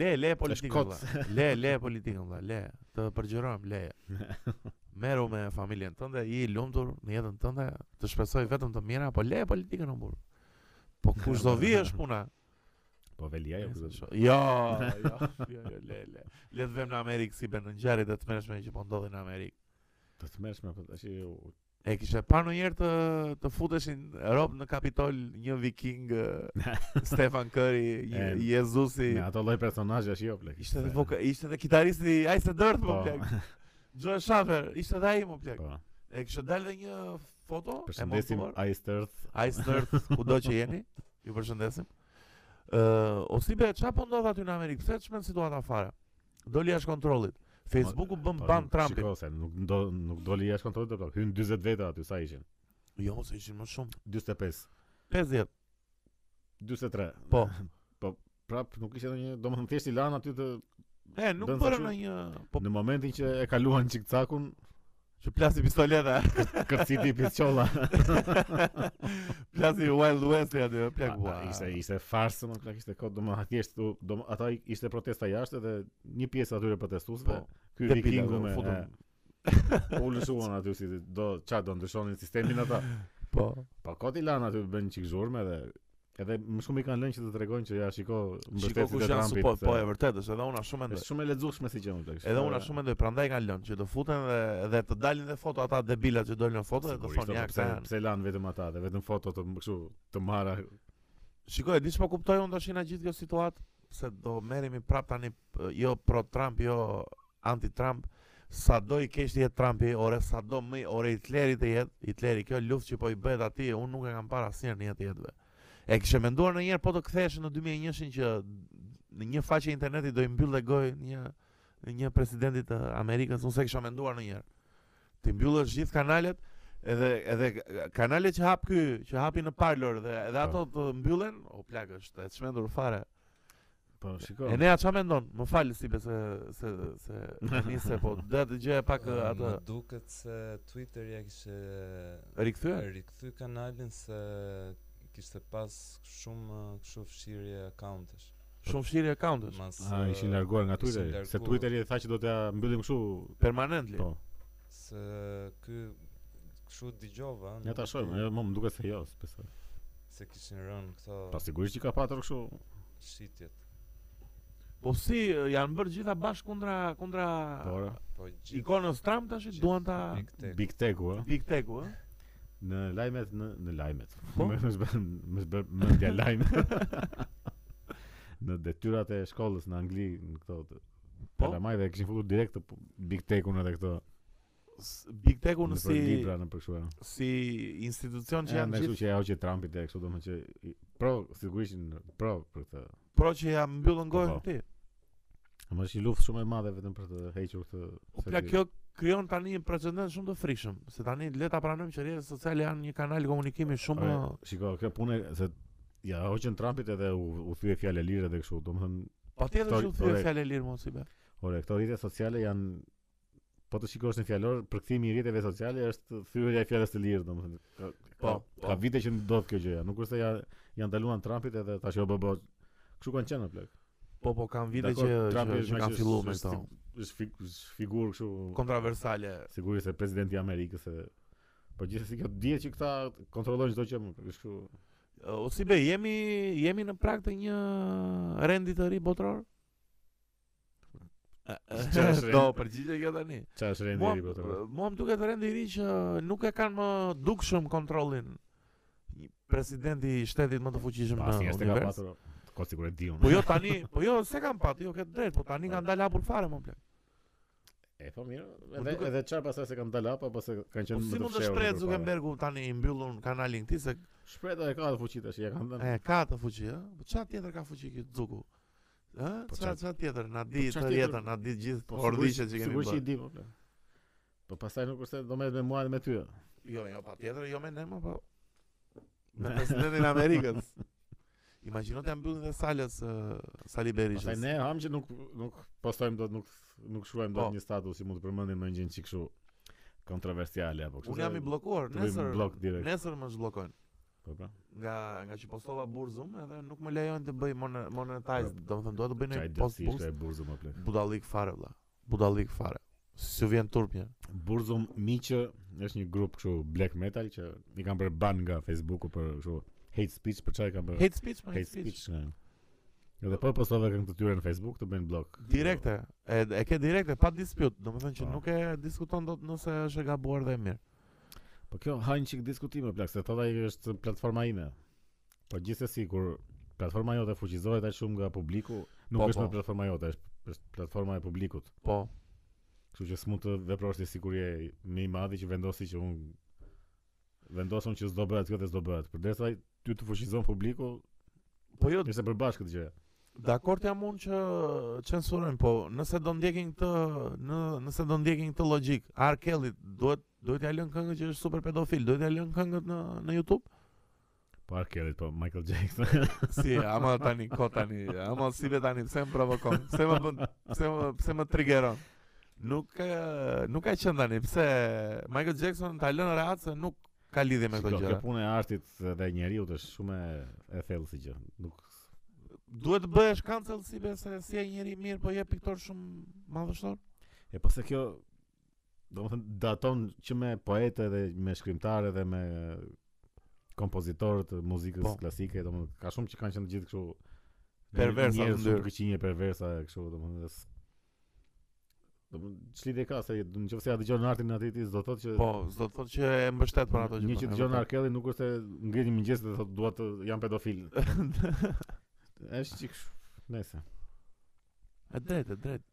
S2: Le, le politikën.
S1: kot.
S2: vlla. Le, le politikën, vlla, le. Të përgjërojmë, le. Meru me familjen tënde, i i lumtur në jetën tënde, të shpresoj vetëm të mira, po le politikën o burr. Po kush do vi është puna.
S1: Po velia jo.
S2: Jo,
S1: kështu.
S2: jo, jo, jo, le, le. Le të vëmë në Amerikë si bën ngjarjet e tmerrshme që po ndodhin në Amerikë.
S1: Të të mërshme, po tash ju
S2: E kishe parë në njerë të, të futeshin rob në kapitol një viking
S1: [LAUGHS]
S2: eh, Stefan Curry, një
S1: E,
S2: Jezusi
S1: Me ato lloj personazhe është jo plek.
S2: Ishte dhe
S1: Se-
S2: voka, ishte dhe kitaristi Ice the Dirt
S1: Po.
S2: po plek
S1: [LAUGHS]
S2: Joe Shafer, ishte dhe ai më plek
S1: Po.
S2: E kishte dalë dhe një foto e
S1: Përshëndesim
S2: montuar
S1: Ice Earth.
S2: Ice the Dirt, ku do që jeni Ju përshëndesim uh, Osibe, qa po ndodh aty në Amerikë? Pse çmen situata fare? Doli jashtë kontrollit Facebooku bën
S1: Po,
S2: Mm. ban Trumpit
S1: Shiko se nuk do nuk doli jashtë kontrollit, do hyn 40 veta aty sa ishin.
S2: Jo, se ishin më shumë
S1: 45,
S2: 50
S1: 43.
S2: Po.
S1: [LAUGHS] Po prap nuk ishte ndonjë, domethënë thjesht i lan aty të
S2: E, nuk
S1: Dënë sa
S2: bërë
S1: që-
S2: në një... Po,
S1: në momentin që e kaluan çikcakun,
S2: që plasi pistoleta.
S1: kërciti i pistola.
S2: [LAUGHS] plasi Wild West aty, e plak bua.
S1: Ishte ishte farsë, më plak ishte kod, domethënë thjesht u- dom- ata i- ishte protesta jashtë dhe një pjesë atyre protestuesve,
S2: Po,
S1: ky
S2: depila,
S1: vikingu
S2: po,
S1: me
S2: futën.
S1: e, po [LAUGHS] u lëshuan aty si do çfarë do ndryshonin sistemin ata.
S2: Po.
S1: Po kot i lan aty bën çik zhurmë edhe edhe më shumë i kanë lënë që të tregojnë që ja shiko
S2: Shiko
S1: mbështetësit
S2: kush
S1: e
S2: janë
S1: Trumpit.
S2: supo, po
S1: se-
S2: e vërtetë, është edhe unë shumë mendoj.
S1: Është shumë e lexueshme si gjë më plak.
S2: Edhe unë shumë mendoj, prandaj kanë lënë që të futen dhe dhe të dalin dhe foto ata debila që dolën në foto dhe të
S1: Sigurisht,
S2: thonë ja
S1: po pse
S2: këta janë.
S1: pse lan vetëm ata dhe vetëm foto të kështu të marra.
S2: Shikoj, e di çfarë kuptoj unë tash na gjithë kjo situatë, se do merremi prap tani p- jo pro Trump, jo anti Trump. Sa do i keq të jetë Trumpi, ore sa do më, ore Hitleri të jetë, Hitleri kjo luftë që po i bëhet atij, unë nuk e kam parë asnjëherë në jetë jetëve. E kishe menduar ndonjëherë po të kthehesh në 2001-shin që në një faqe interneti do i mbyllë gojë një një presidenti të Amerikës, unë se kisha menduar ndonjëherë. Ti mbyllësh gjithë kanalet edhe edhe kanalet që hap ky, që hapi në parlor dhe edhe ato të mbyllen, o plak është e çmendur fare.
S1: Po shiko.
S2: E nea çfarë mendon? Më fal si se se se e nise
S1: [LAUGHS]
S2: po do të gjej pak
S3: Ë,
S2: atë
S3: Më duket se Twitter ja kishte
S2: rikthyer.
S3: rikthy kanalin se kishte pas shumë ë, kështu fshirje accountesh.
S1: Po.
S2: Shumë fshirje accountesh
S3: Mas uh,
S1: A
S3: ë,
S1: ishin larguar nga
S3: ishin
S1: Twitteri, se
S3: larguar.
S1: Twitteri e tha që do t'ja mbyllim kështu.
S2: permanently.
S1: Po.
S3: se ky kështu dëgjova.
S1: Ne
S3: nuk
S1: ta shohim,
S3: di
S1: e, mo më duket se jo, besoj.
S3: Se kishin rënë këto
S1: Po sigurisht që ka patur kështu.
S3: shitjet.
S2: Po si janë bërë gjitha bashkë kundra kundra
S1: Po. ora.
S3: Po gjithë
S2: ikonës Trump tash
S3: gjithë
S2: duan ta
S3: Big Tech.
S1: Big Tech-u, ë.
S2: Big Tech-u, ë?
S1: Në lajmet në në lajmet.
S2: Po.
S1: [LAUGHS] Më më zbën më zbën më dia lajm. [LAUGHS] në detyrat e shkollës në Angli në këto të
S2: Po.
S1: kalamaj dhe kishin futur direkt të pu- Big Tech-un edhe këto
S2: S- Big Tech-u në
S1: në për
S2: si
S1: libra në për kështu.
S2: si institucion që
S1: Ja,
S2: janë
S1: ne kështu
S2: gjithë
S1: që ajo që Trumpit e kështu domethënë që i- pro sigurisht në- pro për këtë.
S2: pro që ja mbyllën gojën
S1: Po.
S2: këtij.
S1: Më është një luftë shumë e madhe vetëm për të hequr këtë.
S2: Po
S1: se
S2: pla
S1: ti-
S2: kjo krijon tani një precedent shumë të frikshëm, se tani le ta pranojmë që rrjetet sociale janë një kanal komunikimi shumë
S1: Ore,
S2: ë,
S1: Shiko, kjo punë se ja hoqën Trumpit edhe u, u thye fjalë lirë dhe kështu, domethënë
S2: patjetër
S1: Tor-
S2: që u thyrë
S1: ore.
S2: fjalë lirë mos i bë.
S1: Ore, këto rrjete sociale janë po të shikosh në fjalor, përkthimi i rrjeteve sociale është thyrja e fjalës së lirë, domethënë. Ka,
S2: Po,
S1: ka,
S2: po.
S1: ka vite që ndodh kjo gjë, ja. nuk është se ja janë ndaluan Trumpit edhe tash jo bëbë. Kështu kanë qenë plak.
S2: Po po kanë vite
S1: Dakor,
S2: që
S1: Trumpi
S2: që,
S1: është
S2: që
S1: me
S2: kanë
S1: që
S2: filluar me
S1: është-
S2: këto
S1: Është fig, është figurë kështu
S2: kontroversale.
S1: sigurisht se presidenti i Amerikës e Po gjithsesi kjo dihet që këta kontrollojnë çdo gjë, më plak, është kështu.
S2: Ë, O si be, jemi jemi në prag të një rendi të ri botror? [LAUGHS]
S1: Çfarë është [LAUGHS]
S2: Do
S1: rendi?
S2: përgjigje kjo tani.
S1: Çfarë është rendi
S2: Mua
S1: i ri po të thotë.
S2: mua më duket rendi i ri që nuk e kanë më dukshëm kontrollin Një presidenti i shtetit më të fuqishëm
S1: Pasi
S2: në
S1: është ka
S2: univers.
S1: pasur. Ko sigurisht diun.
S2: Po jo tani, po jo se kam pat, jo këtë drejt, po tani kanë dalë hapur fare më plak.
S1: E po mirë,
S2: Po
S1: edhe
S2: duket-
S1: edhe çfarë pastaj se kanë dalë apo apo se kanë
S2: Po
S1: qenë më
S2: si
S1: të
S2: mund të
S1: fshehur
S2: shpreh
S1: përpara.
S2: Zuckerbergu tani i mbyllun kanalin këtij se
S1: Shpreta e ka të fuqit tash, ja kanë dhënë.
S2: e ka të fuqi, ë? Po çfarë tjetër ka fuqi ky Zuku? Ë?
S1: Po
S2: Çfarë
S1: çfarë-
S2: çfarë tjetër na di
S1: çfarë
S2: të
S1: tjetër- Po
S2: jetën, na di gjithë ordishet që kemi
S1: Sigurisht që i
S2: bërë.
S1: di po. ple. Po pastaj nuk është se do merret me mua dhe me ty.
S2: Jo, jo, patjetër, jo me ne më
S1: [LAUGHS]
S2: po. Me presidentin e Amerikës. [LAUGHS] Imagjino të mbyllin dhe salës ë,
S1: Pastaj
S2: Sali Berishës.
S1: ne ham që nuk nuk postojmë dot nuk nuk shkruajmë
S2: Po.
S1: dot një status që mund të përmendim ndonjë gjë çik kështu kontroversiale apo kështu.
S2: Unë jam i bllokuar,
S1: të bëjmë
S2: nesër
S1: blok direkt.
S2: nesër më zhbllokojnë.
S1: Po po.
S2: nga nga që postova burzum edhe nuk më lejojnë të bëj mon- monetize, domethënë dua të bëj
S1: Çaj
S2: një
S1: do
S2: post
S1: si
S2: post
S1: ishte e burzum po, apo ple.
S2: budallik fare valla. Budallik fare. Si ju vjen turp një.
S1: Burzum Miqë është një grup kështu black metal që i kanë bërë ban nga Facebooku për kështu hate speech për çfarë kanë bërë.
S2: Hate speech, më hate speech.
S1: nga. Edhe po postove këngë të tyre në Facebook të bëjnë blok.
S2: Direkte, e, e ke direkte pa dispute, domethënë që
S1: Po.
S2: nuk e diskuton dot nëse është e gabuar dhe e mirë.
S1: Po kjo hajnë çik diskutime plak, se thotë ai është platforma ime. Po gjithsesi kur platforma jote fuqizohet aq shumë nga publiku, nuk
S2: Po,
S1: është
S2: po.
S1: më platforma jote, është është platforma e publikut.
S2: Po,
S1: Kështu që s'mund të veprosh ti sikur je më i madhi që vendosi që un vendosun që s'do bëhet kjo dhe s'do bëhet. Përderisa ai- ty të fuqizon publiku,
S2: po jo,
S1: nëse përbash këtë gjë.
S2: dakord jam unë që censurojnë, po nëse do ndjekin këtë, në, nëse do ndjekin këtë logjik, R. Kelly duhet duhet ja lënë këngët që është super pedofil, duhet ja lënë këngët në në YouTube?
S1: Po Arkellit, po Michael Jackson.
S2: Si, ama tani ko tani, ama si be tani, pse më provokon? Pse më bën, pse më pse më triggeron? Nuk e, nuk ka qenë tani, pse Michael Jackson ta lënë rehat se nuk ka lidhje me
S1: Shiko,
S2: këtë gjë.
S1: Kjo puna e artit dhe e njeriu është shumë e- e thellë si gjë. Nuk
S2: Duhet bëhesh cancel si be se si e njëri mirë, po je piktor shumë madhështor.
S1: E po se kjo do më thënë daton që me poetë dhe me shkrimtarë dhe me kompozitorë të muzikës
S2: Po.
S1: klasike, do më thënë, ka shumë që kanë qenë të gjithë kështu
S2: Perversa në
S1: njerëz
S2: ndyrë.
S1: shumë këqinje perversa kështu do më thënë s- do më thënë, çlidhje ka se në qoftë se ja dëgjon artin atë ditë do thotë që
S2: Po, s'do të thotë që e mbështet për ato
S1: Një që
S2: po them,
S1: dëgjon
S2: e
S1: Arkeli nuk është se ngrihet në mëngjes dhe thotë dua të jam pedofil.
S2: vërtet.
S1: Është çik kështu. Nëse.
S2: [LAUGHS] E drejtë, e drejtë.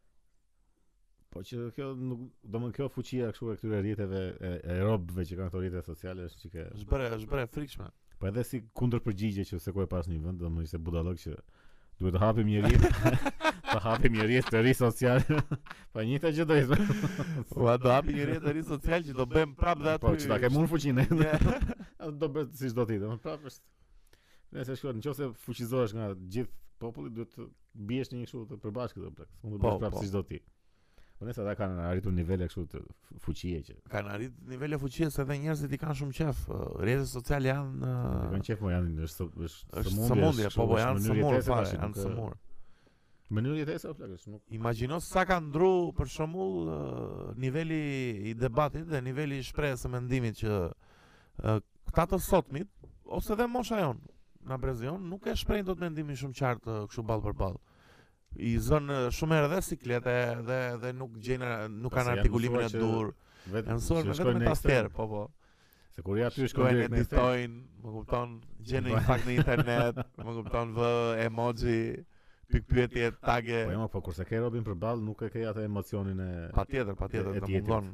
S1: Po që kjo nuk do më kjo fuqia kështu e këtyre rjeteve e, e robëve që kanë këto rrjete sociale është çike
S2: Është bërë, është bërë e frikshme.
S1: Po edhe si kundër përgjigje që se ku e pas një vend, do më ishte budallok që duhet të hapim një rrjet, të hapim një rrjet të ri social. [LAUGHS] pa njëta gjë do ishte.
S2: [LAUGHS] Ua do hapi një rrjetë ri social që do bëjmë prapë dhe aty.
S1: Po që ta kem unë fuqinë.
S2: [LAUGHS] Ja.
S1: [LAUGHS]
S2: Po,
S1: do bëhet siç do ti, do më prapë është. Nëse shkon, nëse fuqizohesh nga gjithë populli, duhet të biesh në një kështu të përbashkët do plak. Mund të
S2: Po,
S1: bësh prapë
S2: po.
S1: siç do ti. Po nëse ata kanë arritur nivele kështu të fu- fuqie që
S2: Kanë arrit nivele fuqie se edhe njerëzit i kanë shumë qef. Ë, Rrjetet sociale janë
S1: Nuk kanë
S2: ë,
S1: qef, mo janë është është
S2: Ah. është
S1: sëmundje,
S2: sëmundje,
S1: është
S2: po
S1: kështu,
S2: po
S1: është
S2: janë
S1: mënyrë
S2: sëmurë
S1: jetese
S2: fare,
S1: tash,
S2: janë
S1: nuk, e-
S2: sëmurë.
S1: Mënyrë jetese plak, është nuk
S2: Imagjino sa ka ndru për shembull ë, niveli i debatit dhe niveli i shprehjes së mendimit që ë, këta të sotmit ose dhe mosha jon na brezion nuk e shprehin dot mendimin shumë qartë ë, kështu ball për ball. I zën ë, shumë herë dhe siklete dhe dhe nuk gjejnë nuk
S1: Pas se
S2: kanë
S1: janë
S2: artikulimin e
S1: mësuar që
S2: dur.
S1: vetë
S2: Janë mësuar
S1: që
S2: me
S1: shkojnë
S2: vetëm
S1: në
S2: me tastier,
S1: ekstrem.
S2: po po.
S1: Se kur ja ty shkon
S2: Shkojnë,
S1: direkt në ekstrem.
S2: editojnë, më kupton, gjenë një fakt në internet, më kupton vë emoji, pikpyetje, tage.
S1: Po jo, po kurse ke Robin përballë nuk e ke atë emocionin e
S2: Patjetër, patjetër,
S1: e
S2: do
S1: tjetrit.
S2: mundon.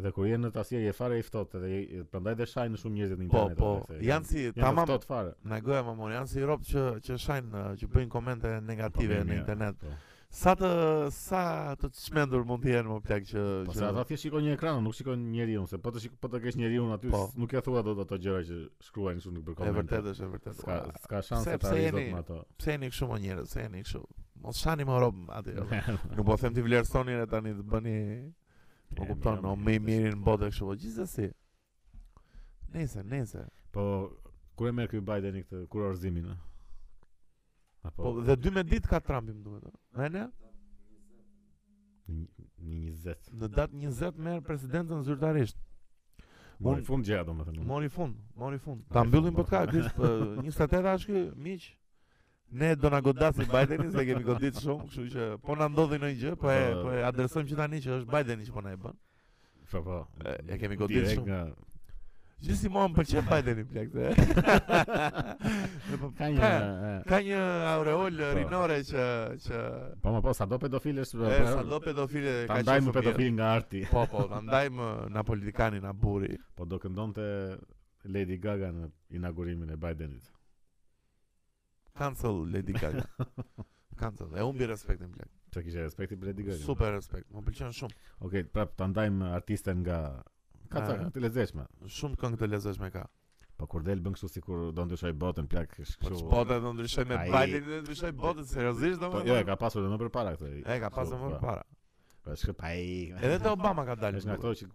S1: edhe kur je në tasje je fare i ftohtë edhe je- prandaj dhe shajnë shumë njerëzit në
S2: Po,
S1: internet.
S2: po,
S1: edhe se
S2: janë si
S1: janë të
S2: tamam
S1: ftohtë fare. Po,
S2: Në goja më janë si rob që, që shajnë, uh, që bëjnë komente negative
S1: mirë,
S2: në
S1: mirë.
S2: internet
S1: Po.
S2: Sa të, sa të të shmendur mund t'jenë më plak që,
S1: Po se
S2: që
S1: ata thjesht shikojnë një ekran, nuk shikojnë njeriu, se po të shik, po të kesh njeriu aty,
S2: Po.
S1: s- nuk e thua dot ato gjëra që shkruajnë shumë në për
S2: e
S1: komente.
S2: vërtet është, e vërtet
S1: Ska
S2: Ua,
S1: ska shanse
S2: Pse-
S1: ta
S2: pse
S1: rizot
S2: jeni-
S1: me ato.
S2: Pse jeni këshu më njerëz, pse jeni këshu Mos shani më rob
S1: [LAUGHS]
S2: aty rob. Nuk po them t'i vlerësoni re tani të bëni Po
S1: E,
S2: kupton,
S1: mirë,
S2: o
S1: mirë,
S2: me i
S1: tash.
S2: mirin në botë e kështu Po gjithsesi. Nese, nese
S1: Po kur e merr ky Bideni këtë kurorzimin? ë? Apo
S2: Po dhe 12 ditë ka Trumpi më duhet ë? E ne?
S1: Një një 20.
S2: Në datë 20 merr presidentën zyrtarisht
S1: Mori
S2: Unë-
S1: fund gjëja domethënë.
S2: Mori fund, mori fund.
S1: Ta
S2: Ta mbyllim
S1: Mm. fund, po.
S2: podcast, ky është, eh, 28 është ky, miq. Ne do na godasi Bidenin se kemi godit shumë, kështu që po na ndodhi ndonjë gjë, po e po e adresojmë që tani që është Bideni që po na e bën.
S1: Po po.
S2: E, e kemi goditur
S1: Direkt
S2: shumë.
S1: nga
S2: Gjithsimonë më pëlqen Bideni plak. se. Dhe po-
S1: Ka një e,
S2: ka një aureol eh,
S1: Po.
S2: rinore që që
S1: Po më po sa do pedofil është
S2: e
S1: po,
S2: Eh, sa do pedofile
S1: Ta
S2: ka
S1: ndajmë
S2: qenë shumë
S1: pedofil nga arti
S2: mirë. Po po, ta ndajmë eh, na politikanin na burri.
S1: Po do këndonte Lady Gaga në inaugurimin e Bidenit
S2: Cancel Lady Gaga. Cancel. E humbi respektin plak.
S1: Që kishe respekti për Lady Gaga
S2: Super respekt. Më pëlqen shumë.
S1: Okej, prap ta ndajmë artisten nga Ka ca
S2: Nga-
S1: këngë të lezetshme
S2: Shumë këngë të lezeshme ka.
S1: Po kur del bën kështu sikur do ndryshoj botën plak është
S2: Po
S1: kështu
S2: çfarë do ndryshoj me
S1: Ai-
S2: Biden do ndryshoj botën seriozisht
S1: Po
S2: domethënë.
S1: jo e ka pasur edhe më përpara këtë
S2: E ka pasur më para.
S1: Po shkë pa i
S2: Edhe te Obama ka dalë.
S1: Është nga ato që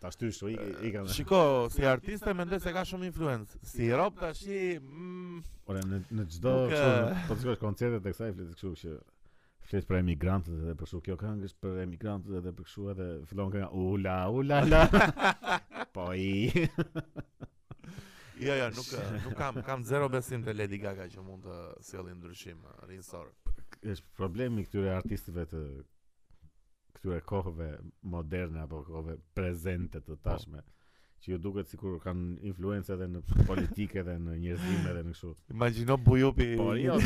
S1: Ta shtysh kështu, i i kanë
S2: Eh, Shiko, si artiste mendoj se ka shumë influencë. Si rob tash i mm,
S1: Ora në në çdo
S2: Nuk, eh,
S1: kështu,
S2: e-
S1: në- po të shkosh koncertet e kësaj flet kështu që flet për emigrantët edhe për kështu kjo këngë është për emigrantët edhe për kështu edhe fillon kënga ula ula la. po i
S2: [LAUGHS] jo jo, nuk nuk kam kam zero besim te Lady Gaga që mund të sjellë ndryshim eh, rinjësor.
S1: është problemi këtyre artistëve të këtyre kohëve moderne apo kohëve prezente të tashme që ju duket sikur kanë influencë edhe në politikë edhe në njerëzim edhe në kështu.
S2: Imagjino bujupi.
S1: Po
S2: [LAUGHS]
S1: jo,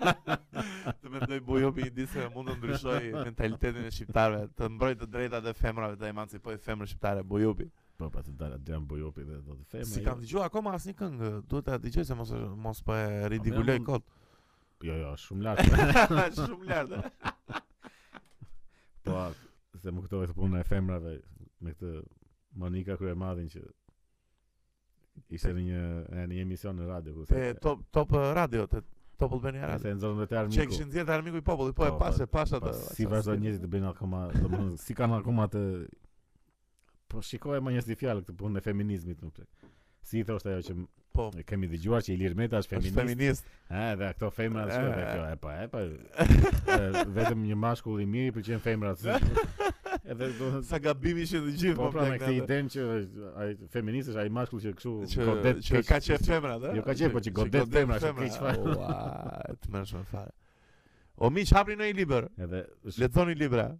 S2: të mendoj bujupi i disë se mund të ndryshoj mentalitetin e shqiptarëve, të mbrojë të drejtat e femrave, të emancipojë femrën shqiptare bujupi.
S1: po pra të dalë Adrian Bojopi dhe do të them.
S2: Si
S1: ajo-
S2: kam dëgjuar akoma asnjë këngë, duhet ta dëgjoj se mos e- mos po e ridikuloj
S1: mund- [LAUGHS]
S2: kot.
S1: Jo, jo, është shumë lart.
S2: Shumë lart. e.
S1: po a, se më kujtohet puna e femrave me këtë Monika Kryemadhin që ishte në një në një emision në radio ku
S2: Te top top eh, radio, te Top Albania Radio.
S1: se nxorën vetë armiku.
S2: Që e kishin zgjedhë armiku i popullit, po e
S1: Po,
S2: pas e pas
S1: Po,
S2: atë.
S1: si vazhdojnë njerëzit të bëjnë akoma, domethënë si kanë akoma të Po shikoj më njerëz di fjalë këtë punë e feminizmit më plak. Si i thoshte ajo që m-
S2: Po,
S1: e kemi dëgjuar që Ilir Meta është
S2: është
S1: feminist.
S2: feminist.
S1: Ha, dhe këto femrat
S2: E,
S1: ashtu
S2: e.
S1: dhe kjo, e po, e po. [LAUGHS]
S2: [LAUGHS]
S1: e, Vetëm një mashkull i mirë i pëlqen femrat. si- Edhe do të
S2: Sa gabim ishin të gjithë
S1: Po pra me
S2: plak,
S1: këtë
S2: atë.
S1: idenë që ai feminist është ai mashkull që kështu
S2: që
S1: godet
S2: që
S1: keq.
S2: ka qef femrat, eh? ë?
S1: Jo, ka qef, po që godet femra, që keq fare.
S2: Ua, të mërshme fare. O miq, hapni në një libër.
S1: Edhe është
S2: Lexoni libra.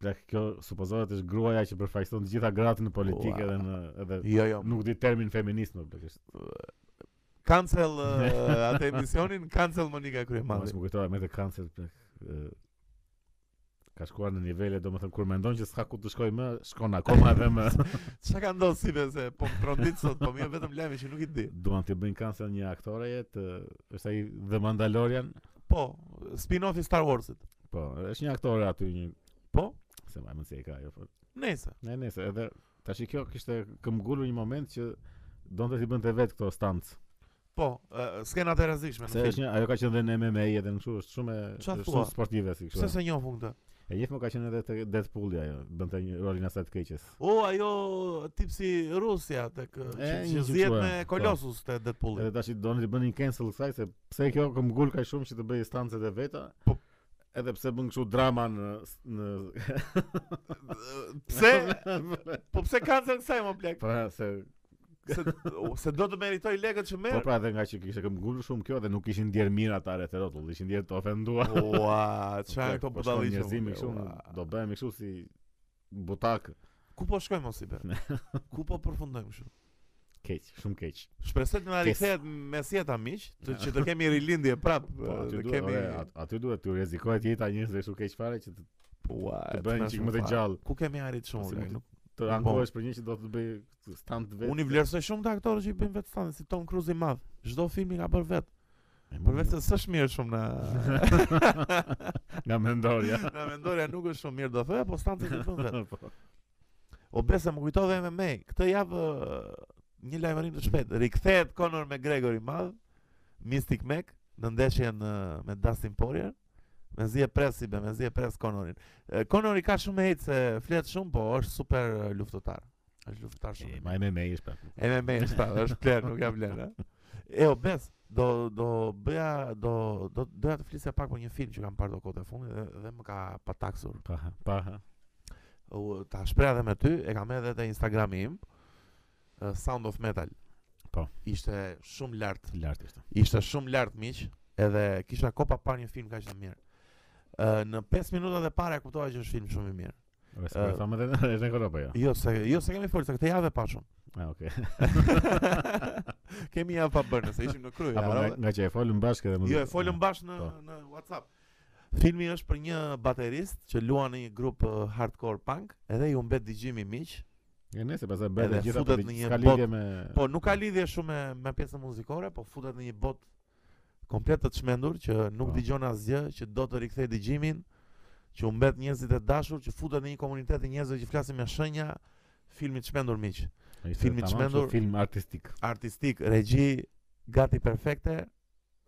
S1: plak, kjo supozohet është gruaja që përfaqëson të gjitha gratë në politikë edhe në edhe
S2: Jo, jo.
S1: nuk di termin feminist më plak. është-
S2: Cancel
S1: [LAUGHS]
S2: eh, atë emisionin, cancel Monika
S1: Mos
S2: Kryemadhi.
S1: më kujtohet me të kancer plak. ë, Ka shkuar në nivele, domethënë kur mendon që s'ka ku të shkoj më, shkon akoma edhe
S2: [LAUGHS]
S1: më.
S2: Çka ka ndodhur si se po më trondit sot, po më jep vetëm lajme që nuk i di.
S1: Duan të bëjnë kancer një aktoreje të është ai The Mandalorian.
S2: Po, spin-off i Star Warsit.
S1: Po, është një aktore aty një
S2: Po?
S1: se më mund se e ka ajo. po.
S2: Nëse.
S1: Ne nëse edhe tash kjo kishte këmbgulur një moment që donte t'i bënte vetë këto stunts.
S2: Po, eh, skenat e rrezikshme
S1: Se
S2: në
S1: është
S2: film.
S1: një ajo ka qenë dhe në MMA edhe në kështu është shumë e-
S2: Qa
S1: është
S2: thua?
S1: shumë sportive si
S2: Pse
S1: kështu.
S2: se njohun këtë?
S1: E gjithmonë ka qenë edhe te Deadpool ajo, bënte një rolin asaj të keqes.
S2: O, ajo tipsi Rusja tek
S1: E,
S2: eh, që
S1: një
S2: që
S1: gjë
S2: zihet
S1: kështu,
S2: me
S1: e, po.
S2: Colossus te Deadpool.
S1: Edhe tash i donin të bënin cancel kësaj se pse kjo këmbgul ka shumë që të bëjë stancet e veta.
S2: Po-
S1: edhe pse bën kështu drama në në
S2: [LAUGHS] Pse? Po pse cancel kësaj më plak?
S1: pra se
S2: Se, o, se do të meritoj lekët që
S1: po
S2: merr.
S1: pra edhe nga që kishte këmbgulur shumë kjo dhe nuk kishin ndier mirë ata rreth e rrotull, ishin ndier të ofenduar.
S2: Ua, çfarë Pra këto
S1: Po shkon
S2: budalliqe.
S1: njerëzimi kështu, do bëhemi kështu si butak
S2: Ku po shkojmë mos i be?
S1: [LAUGHS]
S2: Ku po përfundojmë kështu?
S1: keq, shumë keq.
S2: Shpresoj të na
S1: Kes.
S2: rikthehet mesjeta miq, të që të kemi rilindje prap,
S1: Po aty
S2: të
S1: duhet,
S2: kemi
S1: ore, at- aty duhet të rrezikohet jeta e njerëzve kështu keq fare që të,
S2: Ua,
S1: të bëhen
S2: mërshme
S1: çik më të
S2: fare.
S1: gjallë,
S2: Ku kemi arrit shumë?
S1: Si
S2: bla,
S1: mund
S2: nuk-
S1: të
S2: Po.
S1: ankohesh për një që do të bëj stand vetë.
S2: Unë i vlerësoj shumë të aktorë që i bëjnë vetë stande, si Tom Cruise i madh. Çdo film i ka bërë vetë.
S1: E, mund-
S2: Përveç se s'është mirë shumë në
S1: [LAUGHS] nga
S2: [LAUGHS]
S1: mendorja.
S2: në mendorja nuk është shumë mirë do thoya, po standet i bën vetë.
S1: Po.
S2: O besa më kujtove MMA. Këtë javë ë, një lajmërim të shpejtë. Rikthehet Conor McGregor i madh, Mystic Mac në ndeshjen ë, me Dustin Poirier. Mezi e pres si be, mezi e pres Conorin. E, Conori ka shumë hejt se flet shumë, po është super ë, luftëtar. Është luftëtar shumë. i
S1: Ma me me ishte.
S2: MMA është pra, është plan, nuk jam plan, a? E o bes, do do bëja do do doja të flisja pak për një film që kam parë do kohë të fundit dhe, dhe më ka pataksur.
S1: Pa, pa.
S2: U ta shpreha edhe me ty, e kam edhe te Instagrami im. ë, Sound of Metal.
S1: Po.
S2: Ishte shumë lart,
S1: Lart ishte.
S2: ishte shumë lart miq, edhe kisha kopa parë një film kaq të mirë. Ë, në 5 minutat e para e kuptova që është film shumë i mirë.
S1: Ora se
S2: Eh.
S1: po thamë edhe [LAUGHS] është në Europë jo.
S2: Jo se jo se kemi folur se këtë javë e pa
S1: [LAUGHS]
S2: shumë.
S1: Ah, okay.
S2: kemi javë pa bërë, se ishim në krye.
S1: Apo nga,
S2: harove.
S1: nga që e folëm bashkë edhe më.
S2: Jo, e folëm bash në
S1: Po.
S2: në WhatsApp. Filmi është për një baterist që luan në një grup uh, hardcore punk, edhe i humbet dëgjimi miq.
S1: E nëse pastaj bëhet
S2: Edhe
S1: e gjitha
S2: futet
S1: për
S2: në një
S1: një
S2: botë.
S1: lidhje me
S2: Po nuk ka lidhje shumë me, me pjesën muzikore, po futet në një botë komplet të çmendur që nuk
S1: Po.
S2: dëgjon asgjë, që do të rikthej dëgjimin, që humbet njerëzit e dashur, që futet në një komunitet të njerëzve që flasin me shenja, filmi të çmendur miq.
S1: ishte
S2: filmi
S1: tamam
S2: çmendur.
S1: kështu film artistik.
S2: Artistik, regji gati perfekte,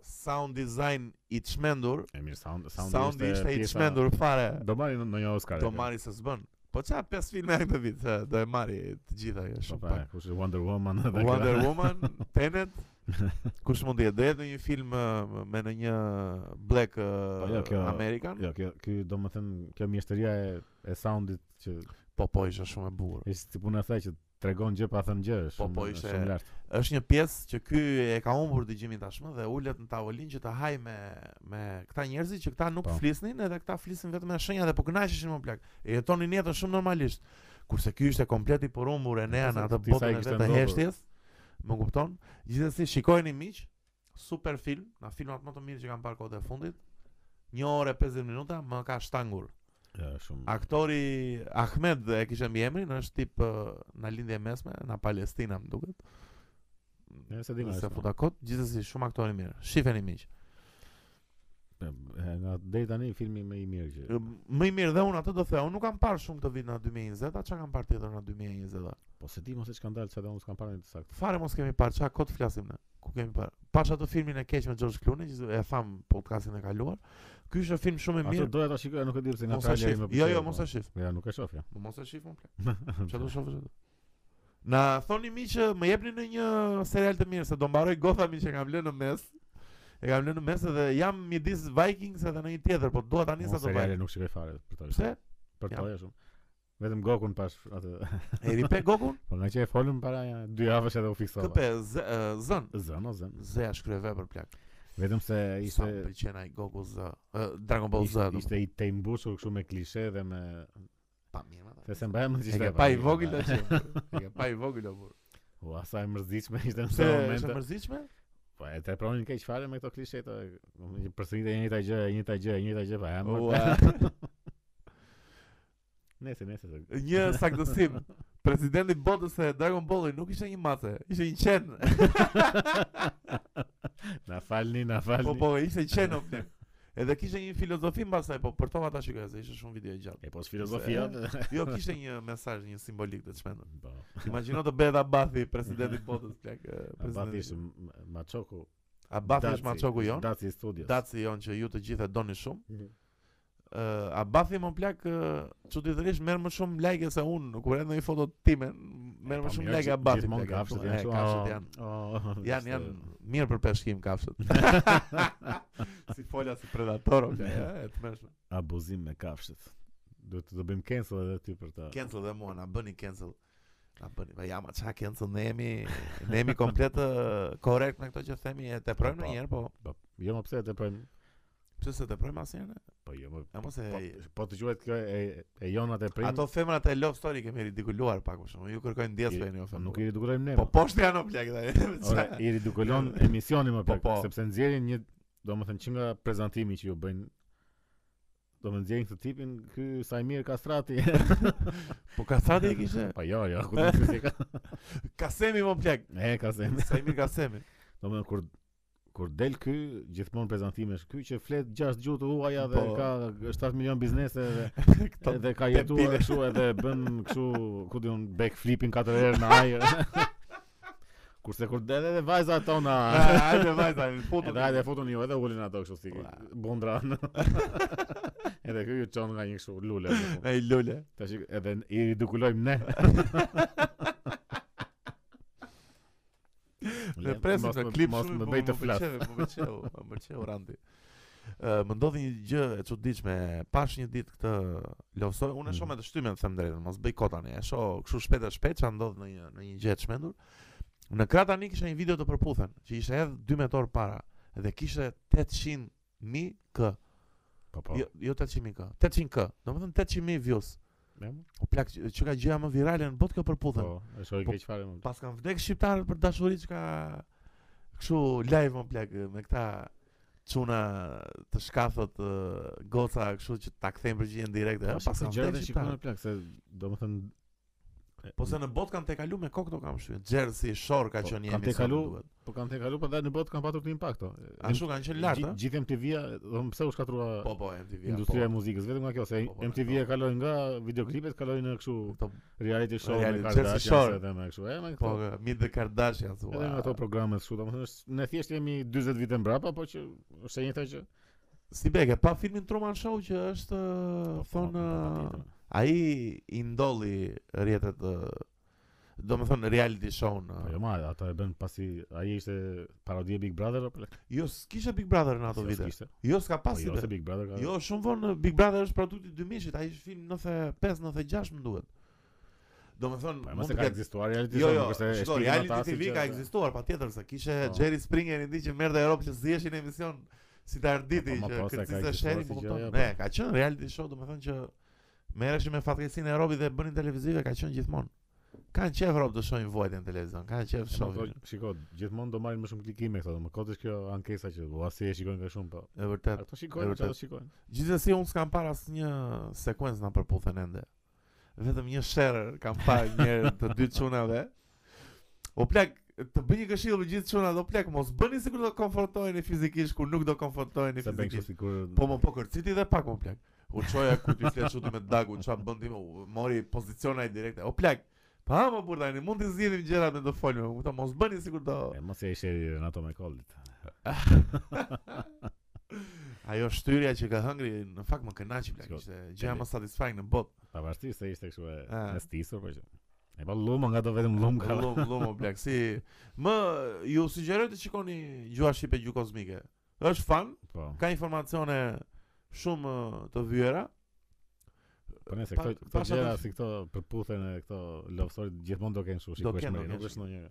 S2: sound design i çmendur,
S1: E mirë sound sound
S2: soundi ishte i
S1: pjesa-
S2: çmendur fare.
S1: Do marrin në një Oscar.
S2: Do
S1: e,
S2: marri se s'bën. Po qa pesë filme këtë vit, se do e marri të gjitha kjo
S1: po,
S2: shumë
S1: pra,
S2: pak.
S1: kush është Wonder Woman edhe kjo.
S2: Wonder Woman,
S1: [LAUGHS]
S2: Tenet, kush mund të jetë? Do jetë një film ë, me në një black
S1: Po,
S2: ë,
S1: jo, kjo-
S2: American?
S1: Jo, kjo ky domethën kjo mjeshtëria e e soundit që
S2: Po po ishte shumë e bukur.
S1: është si puna e saj që tregon gjë pa thënë gjë, është
S2: Po,
S1: shumë
S2: po, ishte-
S1: shumë lart.
S2: Është një pjesë që ky e ka humbur dëgjimin tashmë dhe ulet në tavolinë që të haj me me këta njerëzit që këta nuk
S1: Po.
S2: flisnin edhe këta flisnin vetëm me shenja dhe po kënaqeshin më plak. E jetonin jetën shumë normalisht. Kurse ky ishte komplet i porumbur e nea në
S1: Pastaj
S2: atë
S1: disa i
S2: botën e
S1: kishte
S2: vetë të
S1: ndodhur.
S2: heshtjes. Më kupton? Gjithsesi shikojeni miq, super film, nga filmat më të mirë që kam parë kohët e fundit. 1 orë e 50 minuta më ka shtangur.
S1: Ja, shumë.
S2: Aktori Ahmed e kishte mbi emrin, është tip ë, në lindje mesme, në Palestina më duket.
S1: Ja, se po di nga
S2: Nëse
S1: është.
S2: futa kot, gjithsesi shumë aktorë mirë. Shifeni miq.
S1: E, Nga deri tani filmi më i mirë që.
S2: Më i mirë dhe unë atë do thënë, unë nuk kam parë shumë të vit në 2020, a çka kam parë tjetër në 2020?
S1: Po se di mos e çkan dalë, se unë s'kam parë në të saktë.
S2: Fare mos kemi parë, çka kot flasim ne? Ku kemi parë? Pash atë filmin e keq me George Clooney, që e tham podcastin e kaluar. Ky është film shumë i
S1: Ato
S2: mirë.
S1: doja ta shikoj, nuk e di pse nga
S2: Mos e
S1: traileri
S2: shif.
S1: më
S2: Jo,
S1: pëlqeu,
S2: jo,
S1: po.
S2: mos e shif.
S1: Ja, nuk e shoh ja.
S2: Po mos e shif
S1: [LAUGHS]
S2: unë plak. Çfarë do shohësh atë? Na thoni mi që më jepni në një serial të mirë se do mbaroj Gotham që kam lënë në mes. E kam lënë në mes edhe jam midis Vikings edhe në një tjetër, po dua tani
S1: Unë
S2: sa të
S1: seriale
S2: vaj.
S1: nuk shikoj fare për të.
S2: Pse?
S1: Për
S2: Jam.
S1: të ja shumë. Vetëm Gokun pash atë. [LAUGHS]
S2: [LAUGHS] E ripe Gokun?
S1: Po nga që e folëm para ja, dy javësh edhe u fiksova.
S2: Këpe z- ë, zën.
S1: Zën, o zën.
S2: Zë ja shkruaj vepër plak.
S1: Vetëm se
S2: Ishte
S1: ishte
S2: pëlqen ai Goku Z. ë, Dragon Ball Z.
S1: ishte,
S2: do
S1: ishte i te imbushur kështu me klishe dhe me
S2: më- pa mirë. ata.
S1: se se mbajmë në
S2: E ke pa
S1: [LAUGHS]
S2: i vogël atë. E ke pa i vogël apo.
S1: U asaj mërzitshme ishte në
S2: Pse
S1: këtë
S2: është e
S1: moment.
S2: mërzitshme?
S1: Po e trepronin keq fare me këto klishe të përsëritë e njëjta gjë, e njëjta gjë, [LAUGHS] e njëjta gjë, pa jam.
S2: Ua. [LAUGHS]
S1: Nese, nese. se-
S2: një saktësim. Presidenti i botës e Dragon Ballit nuk ishte një mace, ishte një
S1: [LAUGHS]
S2: qen.
S1: Na falni, na falni.
S2: po po, ishte qen o
S1: [LAUGHS]
S2: plak. Edhe kishte një filozofi mbasaj, po për tova ta shikoj se ishte shumë video e gjatë.
S1: E po filozofia.
S2: Jo, kishte një mesazh, një simbolik të çmendur.
S1: Po.
S2: Imagjino të bëhet Abathi presidenti i botës plak. e,
S1: Abathi
S2: presidenti.
S1: ishte m- m- Machoku.
S2: Abathi është
S1: Daci,
S2: maçoku jon.
S1: Daci i studios.
S2: Daci jon që ju të gjithë e doni shumë.
S1: Mhm.
S2: Uh, Abathi më plak uh, çuditërisht merr më shumë like se unë kur edhe në një foto time merr
S1: Po,
S2: më shumë
S1: mirë
S2: like
S1: që
S2: Abathi.
S1: Gjithmonë
S2: plak,
S1: kafshët
S2: e,
S1: janë kështu.
S2: kafshët
S1: "Oh,
S2: janë
S1: [LAUGHS] oh,
S2: Janë
S1: ishte-
S2: janë mirë për peshkim
S1: [LAUGHS]
S2: kafshët. si fola si predator, ok, e të mëshme.
S1: abuzim me kafshët. Duhet të do bëjmë cancel edhe ty për ta.
S2: Cancel dhe mua, na bëni cancel. Na bëni, pa jam çka cancel ne jemi, ne jemi komplet ë, korrekt me këto që themi, e teprojmë
S1: Po, po.
S2: ndonjëherë, po
S1: Po, jo më pse e teprojmë.
S2: pse se teprojmë asnjëherë? ne?
S1: Po jo më.
S2: E mos e
S1: Po, po të quhet kjo e, e jonat e prim.
S2: Ato femrat e love story kemi ridikuluar pak më shumë. Ju kërkojnë ndjes
S1: I-
S2: për një ofendë.
S1: nuk i ridikulojmë ne.
S2: Po
S1: ma.
S2: poshtë janë o plak
S1: Ora,
S2: tani.
S1: i
S2: [LAUGHS]
S1: ridikulon emisioni më
S2: Po,
S1: pak,
S2: po.
S1: sepse nxjerrin një, domethënë që nga prezantimi që ju bëjnë do më nxjerrin këtë tipin, ky Sajmir
S2: [LAUGHS]
S1: Kastrati.
S2: Po Kasati e [LAUGHS] kishte.
S1: po jo, jo, ku do të thësi ka.
S2: Kasemi më plak.
S1: [LAUGHS] E Kasem.
S2: Sa i mirë Kasemi.
S1: Domethënë kur kur del ky, gjithmonë prezantimi është ky që flet 6 gjuhë të huaja dhe
S2: Po.
S1: ka 7 milion biznese dhe
S2: Këto
S1: [LAUGHS] Edhe ka
S2: pepile.
S1: jetuar kështu edhe bën kështu, ku diun backflipin katër herë në ajër.
S2: [LAUGHS]
S1: Kurse kur edhe edhe vajza tona
S2: A, Hajde vajta, futu.
S1: Edhe hajde futun ju edhe ulin ato kështu si
S2: Ua. [LAUGHS]
S1: bondra. edhe ky ju çon nga një kështu lule. në fund.
S2: Ai lule.
S1: Tash i- edhe i ridikulojmë
S2: [LAUGHS]
S1: ne.
S2: Ne presim
S1: Mos
S2: në
S1: më-
S2: klip
S1: mos
S2: shumë,
S1: më
S2: po
S1: bëj të flas.
S2: pëlqeu, Më pëlqeu,
S1: [LAUGHS]
S2: po më pëlqeu Randi. Ë, Më ndodhi një gjë e çuditshme. Pash një ditë këtë lovsoj, unë e shoh
S1: Mhm.
S2: me të shtymën, them drejtën, mos bëj kot tani. E shoh kështu shpejt e shpejt ç'a ndodh në një në një gjë të çmendur. Në krah tani kisha një video të përputhen, që ishte edhe 12 orë para dhe kishte 800 mi k.
S1: Po po.
S2: Jo, jo 800 mi k, 800 k. Domethënë 800 mi views.
S1: Ne,
S2: O plak, që që ka gjëja më virale në botë kjo përputhen.
S1: Po, e shoj
S2: Po,
S1: keq fare më.
S2: Pas kanë vdek shqiptarët për dashuri që ka kështu live më plak me këta çuna të shkathët ë, goca kështu që ta kthejnë përgjigjen direkte.
S1: Po,
S2: ë, Pas
S1: se
S2: kanë
S1: gjërat
S2: vdek
S1: e shikojmë
S2: shqiptarët.
S1: plak se domethënë
S2: Po se në botë kanë te kalu me kokë do kam shtyë. Jersey Shore ka
S1: Po,
S2: qenë një
S1: kanë
S2: emision.
S1: tekalu-
S2: duhet.
S1: po kanë të kalu po dhe në botë kanë patur këtë impakt. o.
S2: Ashtu kanë qenë lart,
S1: Gjith-
S2: ë?
S1: Gjithë MTV-a, domethënë pse u shkatrua
S2: Po po, MTV. -a,
S1: Industria e
S2: po.
S1: muzikës vetëm nga kjo se
S2: Po, po,
S1: MTV e
S2: po.
S1: kaloi nga videoklipet, kaloi në kështu
S2: Këto
S1: reality show me
S2: Reality- Jersey Shore.
S1: Kardashian edhe me kështu, e me
S2: po
S1: këto.
S2: Meet the Kardashians.
S1: Edhe nga ato programe kështu, domethënë është ne thjesht jemi 40 vite mbrapa, po që është e njëjta që
S2: Si beke, pa filmin Truman Show që
S1: Po,
S2: është thon po, ai i ndolli rrjetet ë, do me thonë reality show në
S1: Po jo ma, ata e bën pasi ai ishte parodi e Big Brother apo
S2: Jo, s'kishe Big Brother në ato
S1: Si,
S2: vite.
S1: s'kishte.
S2: Jo, s'ka
S1: Po
S2: pas
S1: jo, se
S2: ide.
S1: Big Brother ka.
S2: Jo, shumë vonë Big Brother është produkti i 2000-shit, ai është film 95, 96 më duhet. Do me thonë,
S1: Po e
S2: mund
S1: mos
S2: të
S1: e ka
S2: ketë-
S1: ekzistuar reality
S2: Jo,
S1: show,
S2: jo,
S1: nuk është e
S2: shiko,
S1: shtirin
S2: reality
S1: ata si
S2: TV
S1: që-
S2: ka ekzistuar patjetër se kishe
S1: Po.
S2: Jerry Springer i di që merrte Europë që ziheshin në emision si të arditi
S1: Po, po,
S2: që
S1: po, se ka
S2: kërciste
S1: ekzistuar
S2: sheri,
S1: si
S2: po
S1: gjë,
S2: kupton.
S1: jo, po.
S2: Ne, ka qenë reality show, domethënë që merreshim me fatkeqësinë e robit dhe bënin televizive ka qenë gjithmonë. Kanë qef rob të shohin vojtën në televizion, kanë qef
S1: E, ma, po,
S2: shohin.
S1: Shiko, gjithmonë do marrin më shumë klikime këto, më kot është kjo ankesa që ua si e shikojnë ka shumë, po.
S2: E vërtet.
S1: Ato shikojnë,
S2: e
S1: ato
S2: vërtet.
S1: shikojnë.
S2: Gjithsesi unë s'kam parë asnjë sekuencë në përputhen ende. Vetëm një sherr kam parë një herë të dy çunave. O plak, të bëj një këshill me gjithë çunat, o plak mos bëni sikur do komfortoheni fizikisht kur nuk do komfortoheni
S1: Sa bën kështu
S2: fizikisht.
S1: sikur
S2: Po më po kërciti dhe pak më plak. U çoja ku ti flet çuti me dagun, ç'a bën ti, u mori pozicionaj direkte. O plak. Pa më burtani, mund të zgjidhim gjërat me të folme, më kupton, mos bëni sikur do.
S1: E mos e ishe në ato me kollit.
S2: Ajo shtyrja që ka hëngri, në fakt më kënaqi plak,
S1: Shiko,
S2: ishte gjëja
S1: tele-
S2: më satisfying në botë.
S1: Pavarësisht se ishte kështu e
S2: Ah.
S1: e stisur, po që. E pa lumë nga do vetëm lumë ka.
S2: Lum, lum, o plak, si më ju sugjeroj të shikoni Gjua Shqipe Gju Kozmike. Është fan,
S1: Po.
S2: ka informacione shumë eh, të vyera.
S1: Po nëse
S2: Pa-
S1: këto këto
S2: pasha
S1: gjëra
S2: të-
S1: si këto përputhen e këto love story gjithmonë do kenë kështu
S2: Do
S1: shikueshmëri,
S2: kenë, do kenë.
S1: nuk është ndonjë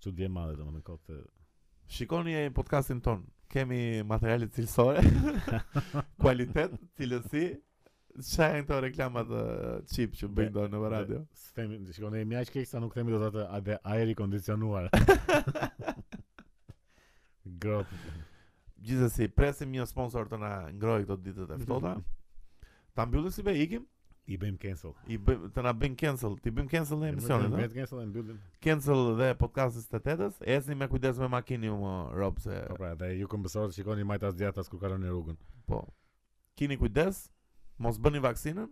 S1: çudi e madhe domethënë kot. e-
S2: Shikoni e podcastin ton. Kemi materiale cilësore, kualitet, cilësi. Qa janë këto reklamat eh, çip që bëjnë do në Po, radio?
S1: s- Themi, shikoni më aq keq sa nuk themi do të atë atë ajri
S2: [LAUGHS]
S1: kondicionuar. Grot.
S2: Gjithsesi, presim një sponsor të na ngrojë këto ditët e ftohta. Ta mbyllim si be ikim,
S1: I bëjmë cancel.
S2: i bëjmë të na bëjmë cancel, ti bëjmë cancel në emisionin,
S1: Vetë
S2: ëh.
S1: cancel e mbyllim.
S2: Cancel dhe podcastin të tetës, ecni me kujdes me makinin më rob se
S1: Po pra, dhe ju këmbësorët shikoni majtas djathtas kur kaloni rrugën.
S2: po. Kini kujdes, mos bëni vaksinën.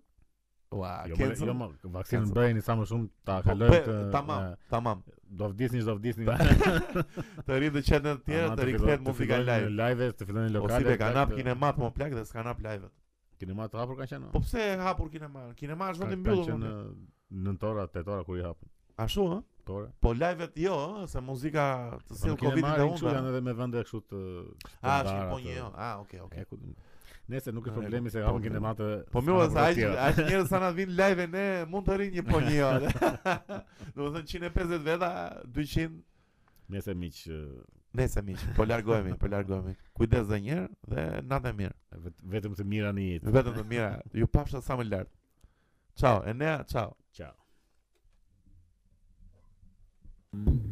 S2: Ua,
S1: Jo, më-
S2: cancel.
S1: jo, më, vaksinën
S2: Cancel.
S1: bëjeni sa më shumë ta
S2: Po,
S1: kalojmë
S2: be-
S1: të
S2: tamam,
S1: e,
S2: tamam.
S1: Do vdisni, do vdisni. [LAUGHS]
S2: Të rritë të qenë të tjera,
S1: Ama
S2: të
S1: fillojnë-
S2: rikthehet muzika
S1: fillojnë
S2: live.
S1: në Live, të fillojnë në
S2: O
S1: lokale.
S2: si be
S1: plak,
S2: kanap
S1: të- Po.
S2: kinemat më plak dhe s'kanap live-et.
S1: Kinema të hapur ka qenë.
S2: Po pse e hapur kinema? Kinema është
S1: Ka-
S2: vetëm
S1: ka
S2: mbyllur.
S1: qenë
S2: më plak.
S1: në nëntora, tetora kur i hapën.
S2: Ashtu ë?
S1: Tore.
S2: Po live-et jo, ë, se muzika të sill Covid-in dhe
S1: Po, Kështu janë
S2: unë.
S1: edhe me vende kështu të
S2: Ah,
S1: të
S2: shkip,
S1: ndara,
S2: po
S1: të-
S2: një jo. Ah, okay,
S1: E,
S2: okay.
S1: ku do- Nëse nuk
S2: Ah,
S1: është
S2: e,
S1: problemi se
S2: po,
S1: hapën
S2: po.
S1: kinemat të
S2: Po mirë,
S1: sa
S2: sa ai
S1: tjera.
S2: ai njerëz sa na vin live ne mund të rrinë një po një jo.
S1: [LAUGHS]
S2: [LAUGHS] Do të thënë 150 veta, 200
S1: Nëse miq e,
S2: Nese miq, po largohemi, po largohemi. Kujdes dhe njëherë dhe natë e mirë.
S1: vet- vetëm të mira në jetë.
S2: Vetëm të mira. Ju pafsha sa më lart. Ciao, Enea, ciao.
S1: Ciao.
S4: Mm-hmm.